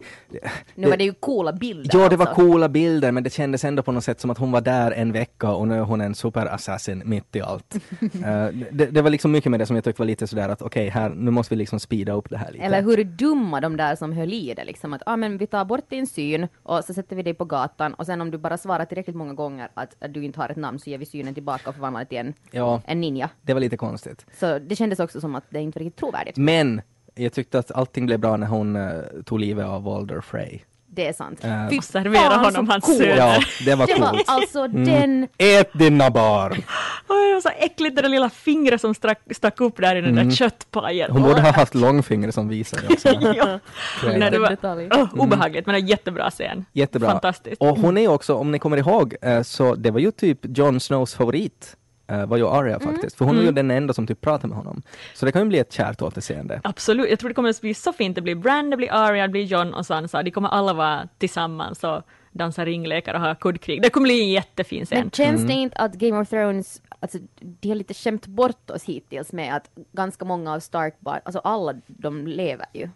S3: Nu var det ju coola bilder
S4: Ja, det var
S3: alltså.
S4: coola bilder, men det kändes ändå på något sätt som att hon var där en vecka och nu är hon en superassassin mitt i allt.
S3: (laughs)
S4: Eh, det, det var liksom mycket med det som jag tyckte var lite sådär att okej, här, nu måste vi liksom speeda upp det här lite.
S3: Eller hur dumma de där som höll i det liksom att ah, men vi tar bort din syn och så sätter vi dig på gatan och sen om du bara svarar tillräckligt många gånger att, att du inte har ett namn så ger vi synen tillbaka och förvandlar dig till en,
S4: Ja,
S3: en ninja.
S4: det var lite konstigt.
S3: Så det kändes också som att det inte var riktigt trovärdigt.
S4: Men jag tyckte att allting blev bra när hon eh, tog livet av Walder Frey.
S3: Det är sant.
S4: Eh,
S3: Fy
S5: Och servera
S3: fan,
S5: honom
S3: så
S5: hans
S3: coolt.
S5: söner.
S4: Ja, det var
S3: (laughs) Det var
S4: coolt. Mm.
S3: alltså den...
S4: Ät dina barn!
S5: (laughs) Oj, det var så äckligt det där lilla fingret som strack, stack upp där i den där köttpajen.
S4: Mm. Hon borde ha haft långfinger som visare
S5: (laughs)
S4: också.
S3: (laughs)
S5: ja.
S4: Grejen.
S5: Nej, det var,
S3: Detalj.
S5: Åh, obehagligt, men en jättebra scen.
S4: Mm. Jättebra.
S5: Fantastiskt.
S4: Och hon är också, om ni kommer ihåg, eh, så det var ju typ Jon Snows favorit, eh, var ju Arya
S3: Mm.
S4: faktiskt. För hon är ju den enda som typ pratar med honom. Så det kan ju bli ett kärt återseende.
S5: Absolut, jag tror det kommer att bli så fint. Det blir Brand, det blir Arya, det blir John och Sansa. De kommer alla vara tillsammans och dansa ringlekar och ha kuddkrig. Det kommer bli en jättefin
S3: Men
S5: scen.
S3: känns
S4: mm.
S3: det inte att Game of Thrones, alltså de har lite skämt bort oss hittills med att ganska många av stark barn, alltså alla de lever ju.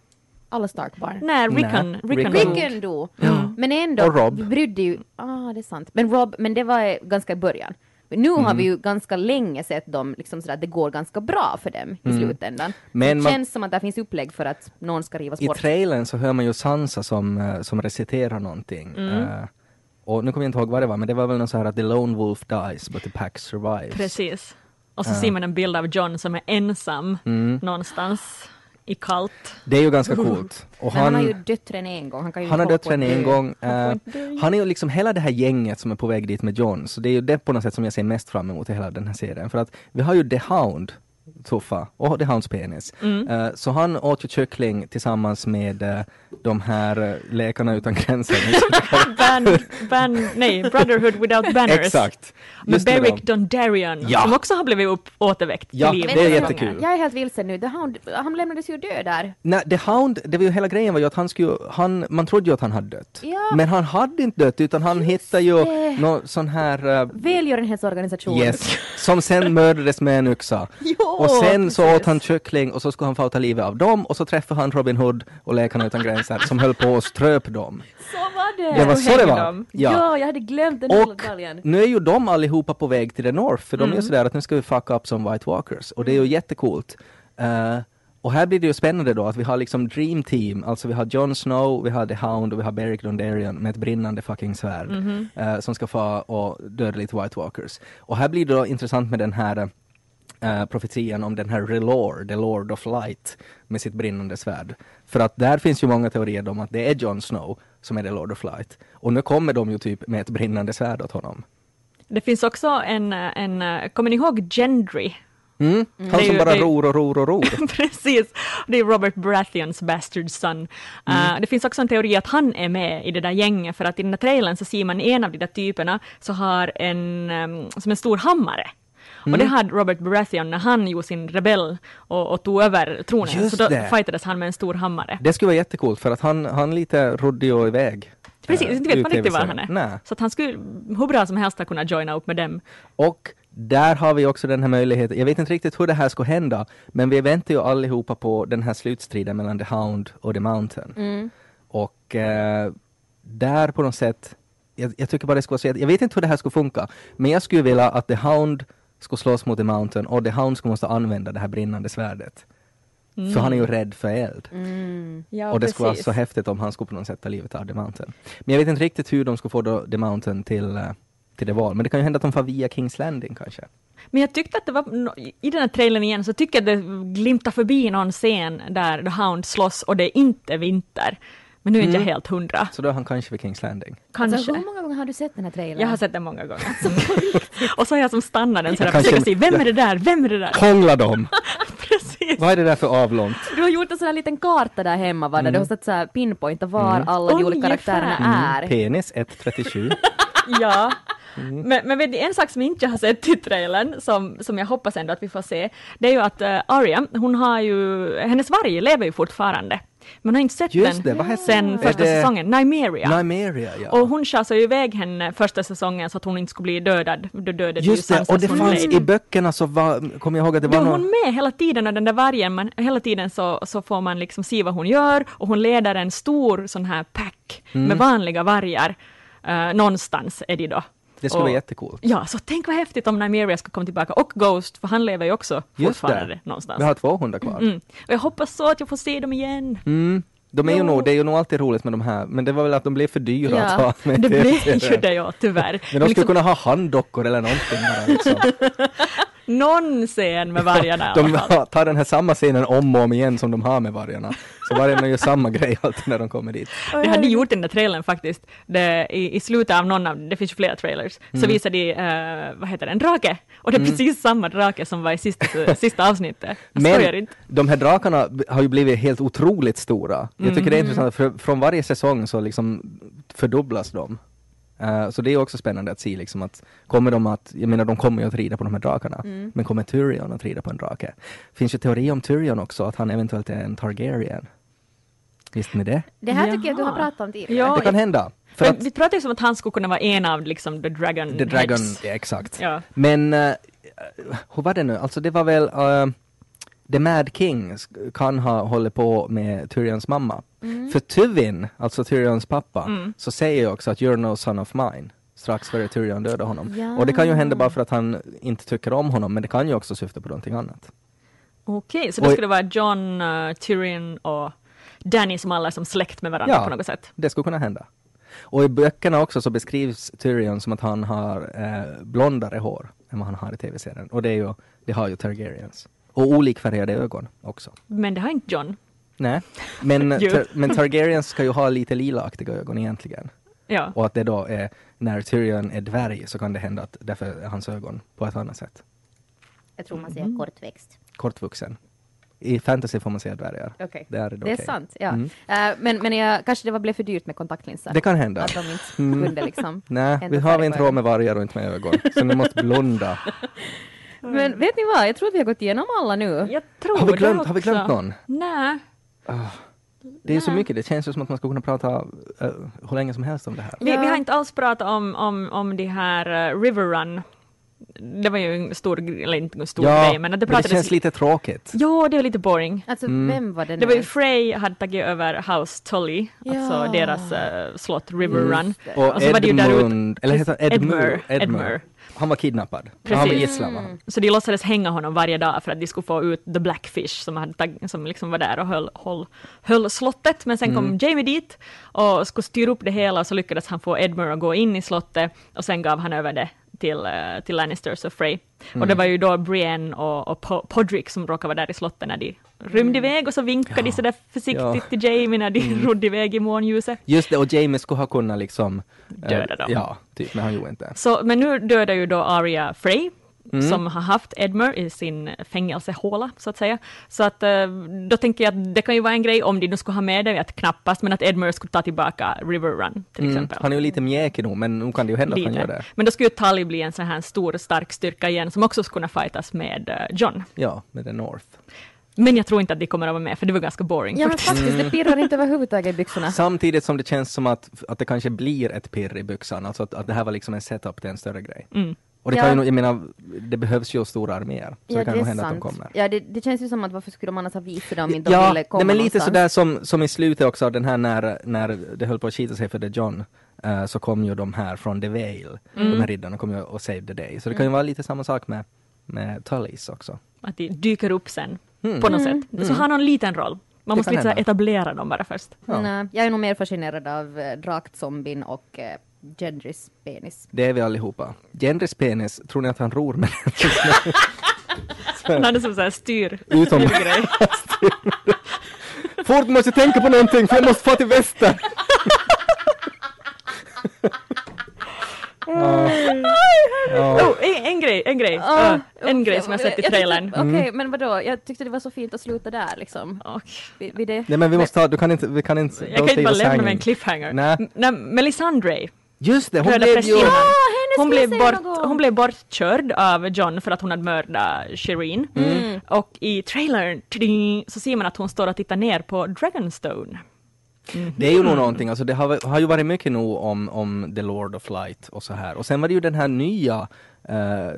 S3: Alla stark barn.
S5: Nej,
S4: Nej,
S5: Rickon. Rickon.
S4: Rickon.
S5: Rickon.
S3: Rickon då! Men ändå,
S4: Och Rob.
S3: vi brydde ju... Ah, det är sant. Men Rob, men det var eh, ganska i början. Men nu har
S4: Mm.
S3: vi ju ganska länge sett dem, liksom sådär, att det går ganska bra för dem i slutändan.
S4: Mm. Men
S3: det
S4: man-
S3: känns som att det finns upplägg för att någon ska rivas
S4: I
S3: bort.
S4: trailern så hör man ju Sansa som, eh, som reciterar någonting.
S3: Mm.
S4: Eh, och nu kommer jag inte ihåg vad det var, men det var väl något så här att the lone wolf dies but the pack survives.
S5: Precis. Och så ser man en bild av John som är ensam
S4: Mm.
S5: någonstans i kallt.
S4: Det är ju ganska
S3: (laughs)
S4: coolt. Och
S3: Men han, har ju
S4: han,
S3: döttren en gång. Han, kan ju
S4: han har
S3: hålla
S4: dött
S3: på att
S4: redan en
S3: dö.
S4: gång. Eh, han är ju liksom hela det här gänget som är på väg dit med John, så det är ju det på något sätt som jag ser mest fram emot i hela den här serien. För att vi har ju The Hound, Tuffa, och The Hounds penis.
S3: Mm.
S4: Eh, så han åt ju kyckling tillsammans med eh, de här eh, Läkarna Utan
S3: (laughs)
S4: Gränser. (laughs)
S5: Band, band, nej, Brotherhood Without Banners.
S4: Exakt.
S5: Med
S4: Just det
S5: Beric
S4: då.
S5: Dondarrion,
S4: Ja.
S5: som också har blivit upp, återväckt
S4: Ja,
S5: till liv.
S4: det är
S3: Vänta, vänta.
S4: jättekul.
S3: Jag är helt vilsen nu. The Hound, han lämnades ju död där.
S4: Nej, The Hound, det var ju hela grejen var ju att han skulle, han, man trodde ju att han hade dött.
S3: Ja.
S4: Men han hade inte dött utan han hittade ju någon sån här eh,
S3: Välgörenhetsorganisation.
S4: Yes, som (laughs) sen mördades med en yxa.
S3: Jo,
S4: och sen så
S3: precis.
S4: åt han kyckling och så skulle han få ta livet av dem och så träffade han Robin Hood och Läkarna Utan Gränser som höll på och ströp dem.
S3: Så var det!
S4: Det var så det var.
S5: dem.
S3: Ja.
S4: Ja.
S3: jag hade glömt den
S4: Och
S3: detaljen.
S4: nu är ju de allihopa på väg till the North för de är ju sådär att nu ska vi fucka upp som White Walkers och det är ju jättecoolt. Eh, och här blir det ju spännande då att vi har liksom Dream Team, alltså vi har Jon Snow, vi har The Hound och vi har Beric Dondarrion med ett brinnande fucking svärd eh, som ska få och döda lite White Walkers. Och här blir det då intressant med den här eh, profetian om den här Relore, the Lord of Light, med sitt brinnande svärd. För att där finns ju många teorier om att det är Jon Snow som är the Lord of Light. Och nu kommer de ju typ med ett brinnande svärd åt honom.
S5: eh, Det finns också en, en, kommer ni ihåg Gendry?
S4: Mm. Han
S5: Det är
S4: som
S5: ju-
S4: bara
S5: det är-
S4: ror och ror och ror.
S5: (laughs) Precis, det är Robert Baratheons Bastard Son. Eh,
S4: Mm.
S5: det finns också en teori att han är med i det där gänget, för att i den där trailern så ser man en av de där typerna så har en, ehm, som en stor hammare. Och
S4: Mm.
S5: det hade Robert Baratheon när han gjorde sin rebell och, och tog över tronen,
S4: Just
S5: så då
S4: det.
S5: fightades han med en stor hammare.
S4: Det skulle vara jättecoolt för att han, han lite rodde och iväg.
S5: Precis,
S4: eh,
S5: inte
S4: ur
S5: vet man riktigt var han är.
S4: TV-serien. Nej.
S5: Så att han skulle hur bra som helst ha kunnat joina upp med dem.
S4: Och där har vi också den här möjligheten. Jag vet inte riktigt hur det här ska hända, men vi väntar ju allihopa på den här slutstriden mellan The Hound och The Mountain.
S5: Mm.
S4: Och eh, där på något sätt, jag, jag tycker bara det skulle vara så, jag vet inte hur det här skulle funka, men jag skulle vilja att The Hound skulle slåss mot The Mountain och The Hound skulle måste använda det här brinnande svärdet.
S5: Mm.
S4: För han är ju rädd för eld.
S5: Ja,
S4: och det skulle vara så häftigt om han skulle på något sätt ta livet av The Mountain. Men jag vet inte riktigt hur de skulle få då The Mountain till, eh, till det val. Men det kan ju hända att de får via Kings Landing kanske.
S5: Men jag tyckte att det var, nå- i den här trailern igen, så tycker jag att det glimtar förbi någon scen där The Hound slåss och det är inte vinter. Men nu är inte
S4: Mm.
S5: jag helt hundra,
S4: Så då är han kanske vid Kings Landing.
S5: kanske.
S2: Alltså, hur många gånger har du sett den här trailern?
S5: jag har sett den många gånger. (laughs) och så har jag som stannar den så
S4: Jag
S5: där,
S4: kanske-
S5: försöker se, vem är det där, vem är det
S4: (laughs)
S5: där? (laughs)
S4: Krångla dem!
S5: Precis.
S4: Vad är det där för avlångt?
S3: Du har gjort en sån här liten karta där hemma va, där
S4: Mm.
S3: du har satt så här pinpointa var alla de olika
S5: Ungefär.
S3: karaktärerna är.
S4: Penis 137.
S5: Ja.
S4: Mm.
S5: Men, men vet ni, en sak som inte jag har sett i trailern, som, som jag hoppas ändå att vi får se, det är ju att eh, Arya, hon har ju, hennes varg lever ju fortfarande. Men hon har inte sett
S4: Just
S5: den
S4: det, vad heter-
S5: sen
S4: Är
S5: första
S4: det-
S5: säsongen, Nymeria.
S4: Nymeria ja.
S5: Och hon chasade ju iväg henne första säsongen så att hon inte skulle bli dödad. Då dödade
S4: Just
S5: ju
S4: det,
S5: Sansa
S4: och det
S5: som
S4: fanns
S5: Blade.
S4: i böckerna så var, kom jag ihåg att det
S5: Då
S4: var
S5: är
S4: någon...
S5: hon med hela tiden och den där vargen, man, hela tiden så, så får man liksom se vad hon gör och hon leder en stor sån här pack
S4: Mm.
S5: med vanliga vargar. Eh, någonstans är de då.
S4: Det skulle
S5: Och-
S4: vara jättecoolt.
S5: Ja, så tänk vad häftigt om Nymeria ska komma tillbaka och Ghost, för han lever ju också
S4: Just
S5: fortfarande
S4: det.
S5: någonstans.
S4: Vi har 200 kvar.
S5: Mm. Och jag hoppas så att jag får se dem igen.
S4: Mm. De är ju
S5: Jo.
S4: nog, det är ju nog alltid roligt med de här, men det var väl att de blev för dyra
S3: Ja,
S4: att ha (laughs) med
S5: Det
S4: TV-serien.
S5: blev ju det ja, tyvärr. liksom
S4: Men de skulle kunna ha handdockor eller någonting bara liksom.
S5: Någon scen med (laughs) vargarna i alla
S4: (laughs) De
S5: fall.
S4: har- tar den här samma scenen om och om igen som de har med vargarna. Så vargarna gör samma (laughs) grej alltid när de kommer dit.
S5: Det hade gjort den där trailern faktiskt. Det, i, I slutet av någon av, det finns ju flera trailers,
S4: Mm.
S5: så visar de, eh, vad heter den, drake. Och det är precis samma drake som var i
S4: (laughs)
S5: sista, sista avsnittet. Jag skojar
S4: Men
S5: inte.
S4: de här drakarna b- har ju blivit helt otroligt stora.
S5: Mm.
S4: Jag tycker det är intressant, för från varje säsong så liksom fördubblas de. Eh, så det är också spännande att se liksom att, kommer de att, jag menar de kommer ju att rida på de här drakarna,
S5: Mm.
S4: men kommer Tyrion att rida på en drake? Finns ju teori om Tyrion också, att han eventuellt är en Targaryen. Visste ni det?
S2: Det här tycker jag du har
S5: Jaha.
S2: pratat om tidigare.
S5: Ja,
S4: Det kan hända. För
S5: men
S4: att
S5: vi pratade ju som att han skulle kunna vara en av liksom the dragon
S4: The Dragon,
S5: heads.
S4: ja, exakt.
S5: Ja.
S4: Men, eh, hur var det nu, alltså det var väl eh, The Mad King sk- kan ha hållit på med Tyrions mamma.
S5: Mm.
S4: För Tywin, alltså Tyrions pappa, så säger jag också att you're no son of mine strax före Tyrion dödar honom.
S3: Ja.
S4: Och det kan ju hända bara för att han inte tycker om honom, men det kan ju också syfta på någonting annat.
S5: Okej, så då
S4: Oj.
S5: skulle det vara John, eh, Tyrion och Danny som alla är som släkt med varandra
S4: Ja.
S5: på något sätt.
S4: Det skulle kunna hända. Och i böckerna också så beskrivs Tyrion som att han har eh, blondare hår än vad han har i tv-serien. Och det, är ju, det har ju Targaryens. Och olikfärgade ögon också.
S5: Men det har inte John.
S4: Nej, men,
S5: Jo.
S4: tar, men Targaryens ska ju ha lite lilaaktiga ögon egentligen.
S5: Ja.
S4: Och att det då är, när Tyrion är dvärg så kan det hända att därför är hans ögon på ett annat sätt.
S2: Jag tror man
S5: Mm.
S2: säger kortväxt.
S4: Kortvuxen. I fantasy får man säga dvärgar.
S3: Okej.
S4: Där är det,
S3: Det är
S4: okej. Mm.
S3: sant, ja. Eh, men men jag, kanske det var, blev för dyrt med kontaktlinser.
S4: Det kan hända. Mm.
S3: Att de inte kunde liksom.
S4: Nej,
S3: ändra
S4: vi har
S3: färg
S4: inte
S3: på
S4: råd med vargar och inte med ögon. Så ni måste blunda.
S3: ögonen. Men vet ni vad, jag tror att vi har gått igenom alla nu.
S5: Jag tror
S4: Har vi
S5: det
S4: glömt- har vi
S5: också.
S4: glömt någon?
S5: Nej.
S4: Det är ju så mycket, det känns ju som att man ska kunna prata eh, hur länge som helst om det här.
S5: Vi, vi
S3: Ja.
S5: har inte alls pratat om, om, om det här eh, River Run. Det var ju en stor, gre- eller inte en stor grej, men att det
S4: men det
S5: pratades...
S4: känns lite tråkigt.
S5: Ja, det var lite boring.
S3: Alltså
S4: Mm.
S3: vem var det nu?
S5: Det var ju Frey hade tagit över House Tully,
S3: Ja.
S5: alltså deras eh, slott River Run.
S4: Och,
S5: så var det ju där ute-
S4: Edmund, eller heter han Edmure,
S5: Edmure,
S4: Edmure.
S5: Edmure.
S4: Han var kidnappad. Han var
S5: Precis.
S4: gisslan va?
S5: Så de låtsades hänga honom varje dag för att de skulle få ut The Blackfish som, hade tag- som liksom var där och höll, höll, höll slottet. Men sen
S4: Mm.
S5: kom Jamie dit och skulle styra upp det hela och så lyckades han få Edmure att gå in i slottet och sen gav han över det till, eh, till Lannisters och Frey. Och
S4: Mm.
S5: det var ju då Brienne och, och Po- Podrick som råkade vara där i slottet när de rymde iväg och så vinkade de sådär försiktigt
S4: Mm. Ja. Mm.
S5: till Jamie när de rodde iväg i månljuset.
S4: Just det, och Jamie skulle ha kunnat liksom... eh,
S5: Döda dem.
S4: Ja, typ, men han gjorde inte.
S5: Så, men nu dödar ju då Arya Frey
S4: Mm.
S5: som har haft Edmer i sin fängelsehåla, så att säga. Så att eh, då tänker jag att det kan ju vara en grej om de nu skulle ha med det, att knappast, men att Edmer skulle ta tillbaka River Run till
S4: Mm.
S5: exempel.
S4: Han är ju lite mjäkig nog, men nu kan det ju hända att han
S5: Lite.
S4: gör det.
S5: Men då skulle ju Tully bli en sån här stor stark styrka igen som också skulle kunna fightas med eh, John.
S4: Ja, med The North.
S5: Men jag tror inte att de kommer att vara med för det var ganska boring.
S3: Ja men
S5: faktiskt.
S3: faktiskt,
S4: Mm.
S3: det pirrar inte överhuvudtaget i byxorna.
S4: Samtidigt som det känns som att, att det kanske blir ett pirr i byxan, alltså att, att det här var liksom en setup till en större grej. Och det kan
S3: Mm. Ja.
S4: ju, nog- jag menar, det behövs ju stora arméer, så det kan nog hända att de kommer.
S3: Ja, det, det känns ju som att varför skulle de annars ha visat dem om inte de
S4: ja,
S3: ville komma
S4: nej, men lite
S3: någonstans?
S4: sådär som, som i slutet också av den här när, när det höll på att skita sig för The John, eh, så kom ju de här från The Vale,
S3: Mm.
S4: de här riddarna kom ju och save the day. Så det kan ju vara lite samma sak med, med Tullys också.
S5: Att de dyker upp sen på något
S3: Mm.
S5: sätt. Så har någon liten roll. Man
S4: Mm. Det
S5: måste
S4: kan
S5: lite så här
S4: hända.
S5: etablera dem bara
S4: (laughs)
S5: först.
S4: Ja.
S3: Nej, jag är nog mer fascinerad av eh, drakzombin och eh, Gendrys penis.
S4: Det är vi allihopa. Gendrys penis, tror ni att han ror med den?
S5: Han hade som så här styr.
S4: Utom... Fort måste tänka på någonting för jag måste få till väster!
S5: Oh, en, en grej, en grej.
S3: Ah,
S5: Uh, en grej
S3: okej,
S5: som jag sett i
S3: tyckte-
S5: trailern.
S3: Okej,
S4: Mm.
S3: men vadå? Jag tyckte det var så fint att sluta där liksom.
S5: Och
S3: Vid, vid det.
S4: Nej men vi måste ta, du kan inte, vi kan inte...
S5: jag kan inte bara lämna med en
S4: klipp.
S5: cliffhanger.
S4: Nej.
S5: M- när Melisandre,
S4: Just det, hon
S5: röda
S4: blev ju...
S5: prästinnan, hon,
S3: skulle
S5: blev
S3: jag säga något
S5: bort,
S3: om.
S5: hon blev bortkörd av John för att hon hade mördat Shireen.
S4: Mm.
S5: Och i trailern tling, så ser man att hon står och tittar ner på Dragonstone.
S4: Det är ju nog någonting, alltså det har, har ju varit mycket nog om, om The Lord of Light och så här. Och sen var det ju den här nya eh, r-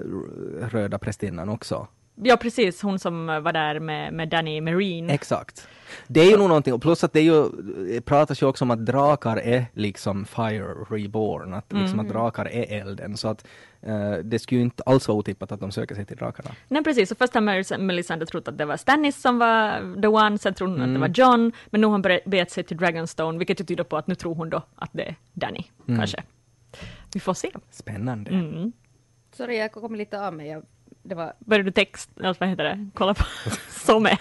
S4: röda prästinnan också.
S5: Ja precis, hon som var där med, med Danny Marine.
S4: Exakt. Det är ju nog någonting, och plus att det är ju, det pratas ju också om att drakar är liksom fire reborn, att, liksom att drakar är elden. Så att eh, det skulle ju inte alls vara otippat att de söker sig till drakarna.
S5: Nej precis, så först har Melis- Melisandre trott att det var Stannis som var the one, sen trodde hon att det
S4: Mm.
S5: var John, men nu har hon börjat- begett sig till Dragonstone, vilket ju tyder på att nu tror hon då att det är Danny,
S4: Mm.
S5: kanske. Vi får se.
S4: Spännande.
S3: Sorry, jag kom lite av mig. Jag, det var...
S5: Börjar du text, eller vad heter det, kolla på (laughs) Somme?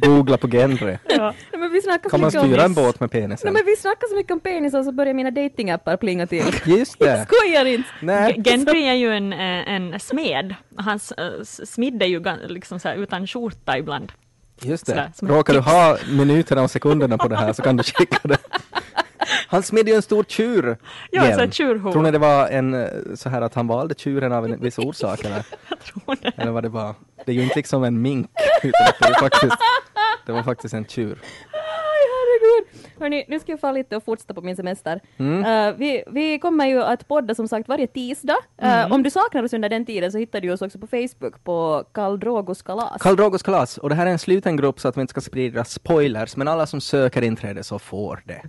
S4: Googla på Gendre.
S5: ja.
S3: Nej, men vi snackar så
S4: Kan man
S3: mycket om-
S4: styra en båt med penisen?
S3: Nej, men vi snackar så mycket om penisar så börjar mina datingappar plinga till.
S4: Just det!
S3: Skojar inte!
S4: Nej.
S5: Gendry är ju en, eh, en smed, hans eh, s- smidd är ju gan- liksom så här, utan skjorta ibland. (laughs)
S4: Just
S5: Sådär,
S4: det.
S5: som ett
S4: Råkar du
S5: tips.
S4: ha minuterna och sekunderna på det här så kan du (laughs) checka det. Han smidde ju en stor tjur.
S5: Ja,
S4: igen.
S5: så här tjurhov.
S4: Tror ni det var en, eh, så här att han valde tjuren av en viss orsak eller?
S5: Jag tror det.
S4: Eller vad det var? Det är ju inte liksom en mink. Utan att det, är faktiskt, det var faktiskt en tjur.
S3: Aj, herregud! Hörni, nu ska jag fara lite och fortsätta på min semester.
S4: Mm.
S3: Eh, vi, vi kommer ju att podda som sagt varje tisdag. Eh,
S4: Mm.
S3: Om du saknar oss under den tiden så hittar du oss också på Facebook på Kaldrogos kalas.
S4: Karl Drogos kalas. Och det här är en sluten grupp så att vi inte ska sprida spoilers. Men alla som söker inträde så får det.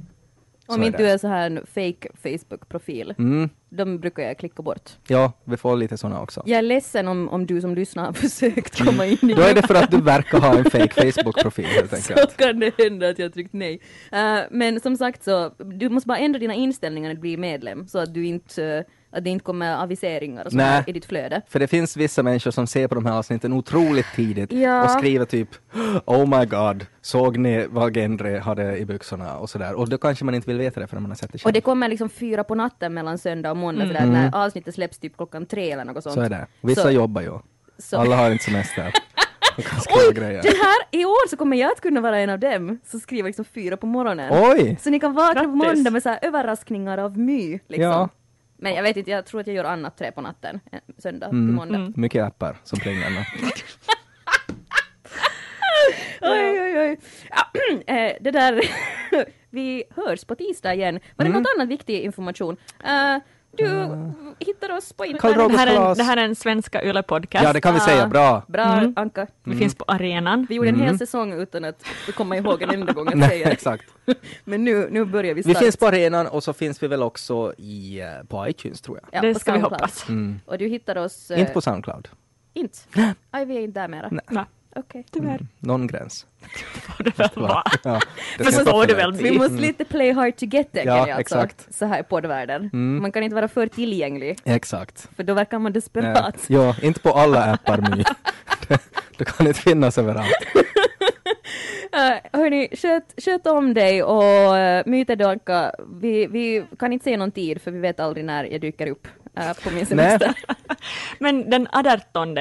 S4: Så
S3: Om
S4: är
S3: inte
S4: det.
S3: du är så här en fake Facebook-profil.
S4: Mm.
S3: De brukar jag klicka bort.
S4: Ja, vi får lite sådana också.
S3: Jag är ledsen om, om du som lyssnar har (laughs) försökt komma in i
S4: Mm. Då är det för
S3: (laughs)
S4: att du verkar ha en fake Facebook-profil helt enkelt.
S3: Så kan det hända att jag tryckt nej. Eh, men som sagt så, du måste bara ändra dina inställningar när du blir medlem så att du inte, eh, att det inte kommer aviseringar och sånt
S4: Nej.
S3: här i ditt flöde.
S4: För det finns vissa människor som ser på de här avsnitten otroligt tidigt
S3: Ja.
S4: och skriver typ Oh my god, såg ni vad Gendre hade i byxorna och sådär. Och då kanske man inte vill veta det förrän man har sett det
S3: Och
S4: själv.
S3: det kommer liksom fyra på natten mellan söndag och måndag sådär, när avsnittet släpps typ klockan tre eller något sånt.
S4: Mm. Så är det. Vissa
S3: Så-
S4: jobbar ju.
S3: så-
S4: Alla har inte
S3: (laughs)
S4: semester. Och kan skriva
S3: Oj!
S4: grejer.
S3: Den här, i år så kommer jag att kunna vara en av dem som skriver liksom fyra på morgonen.
S4: Oj!
S3: Så ni kan vakna på
S5: Grattis.
S3: måndag med så här överraskningar av My. Liksom.
S4: Ja.
S3: Men jag vet inte, jag tror att jag gör annat tre på natten, eh, söndag
S4: Mm.
S3: till måndag.
S4: Mycket appar som plingar nu.
S3: Oj, oj, oj. Ja, (clears throat) eh, det där, (laughs) vi hörs på tisdag igen. Var
S4: Mm.
S3: det något annat viktig information? Eh, du hittar oss på
S4: Karl
S3: internet.
S5: Det här är en,
S4: Roberts
S5: det här är en svenska Yle-podcast.
S4: Ja, det kan vi säga.
S3: (laughs)
S4: Mm. Bra.
S3: Bra Anka.
S5: Vi finns på arenan.
S3: Vi gjorde en hel säsong utan att komma ihåg en enda gång att
S4: Mm. (laughs) Nej,
S3: säga det.
S4: exakt.
S3: (laughs) Men nu, nu börjar vi
S4: Vi
S3: starkt.
S4: finns på arenan och så finns vi väl också i, eh, på iTunes tror jag.
S3: Ja,
S5: det
S3: på
S5: ska vi
S3: SoundCloud.
S5: hoppas.
S3: Och du hittar oss... eh,
S4: Mm. Inte på Soundcloud.
S3: Inte?
S4: (gasps)
S3: Aj, vi är inte där mera.
S5: Nej,
S3: Okej.
S5: tyvärr.
S4: Någon gräns.
S5: Får det väl vara.
S4: Ja,
S3: (laughs)
S4: det
S5: Men
S4: ska
S5: så
S4: jag
S5: står det
S4: ta
S5: väl
S4: för lätt.
S3: Vi måste lite play hard to get tänker
S4: Mm. Ja,
S3: jag alltså.
S4: exakt. Mm.
S3: Så här i poddvärlden. Man kan inte vara för tillgänglig,
S4: Exakt.
S3: för då verkar man
S4: Nej.
S3: (laughs) desperat.
S4: Ja, inte på alla appar My. (laughs) Det- Det kan inte finnas överallt.
S3: Uh, hörni, sköt, sköt om dig eh, och uh, myte Danka. Vi, vi kan inte se någon tid för vi vet aldrig när jag dyker upp. eh, på min
S4: Nej.
S3: semester. (laughs)
S5: Men den 18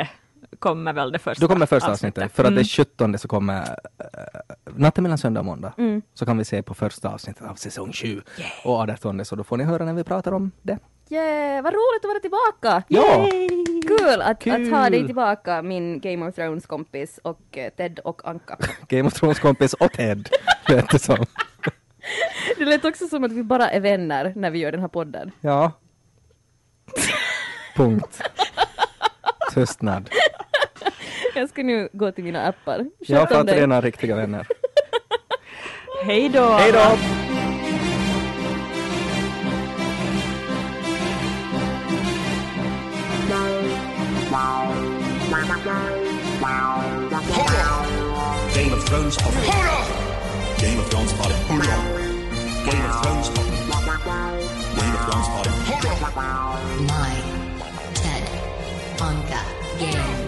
S5: kommer väl det första
S4: Då kommer första avsnittet, för att
S5: Mm.
S4: det är 17 så kommer eh, natten mellan söndag och måndag. Så kan vi se på första avsnittet av säsong 7 och 18 så då får ni höra när vi pratar om det.
S3: Yeah, vad roligt att vara tillbaka!
S4: Ja!
S3: Kul att,
S4: Kul.
S3: att ha dig tillbaka min Game of Thrones-kompis och eh, Ted och Anka.
S4: Game of Thrones kompis och
S3: (laughs)
S4: Ted, lät (laughs) det som.
S3: Det lät också som att vi bara är vänner när vi gör den här podden.
S4: Ja. Punkt. Tystnad.
S3: Jag ska nu gå till mina appar. Sköt
S4: Jag
S3: om
S4: fattar
S3: dig.
S4: rena riktiga vänner.
S5: Mm. Hej då!
S4: Hej då!
S1: Hold on. Game of Thrones of Hold on. Game of Thrones party. Hold on. Game of Thrones party. Game of Thrones party. Hold on.
S6: My Ted Anka Game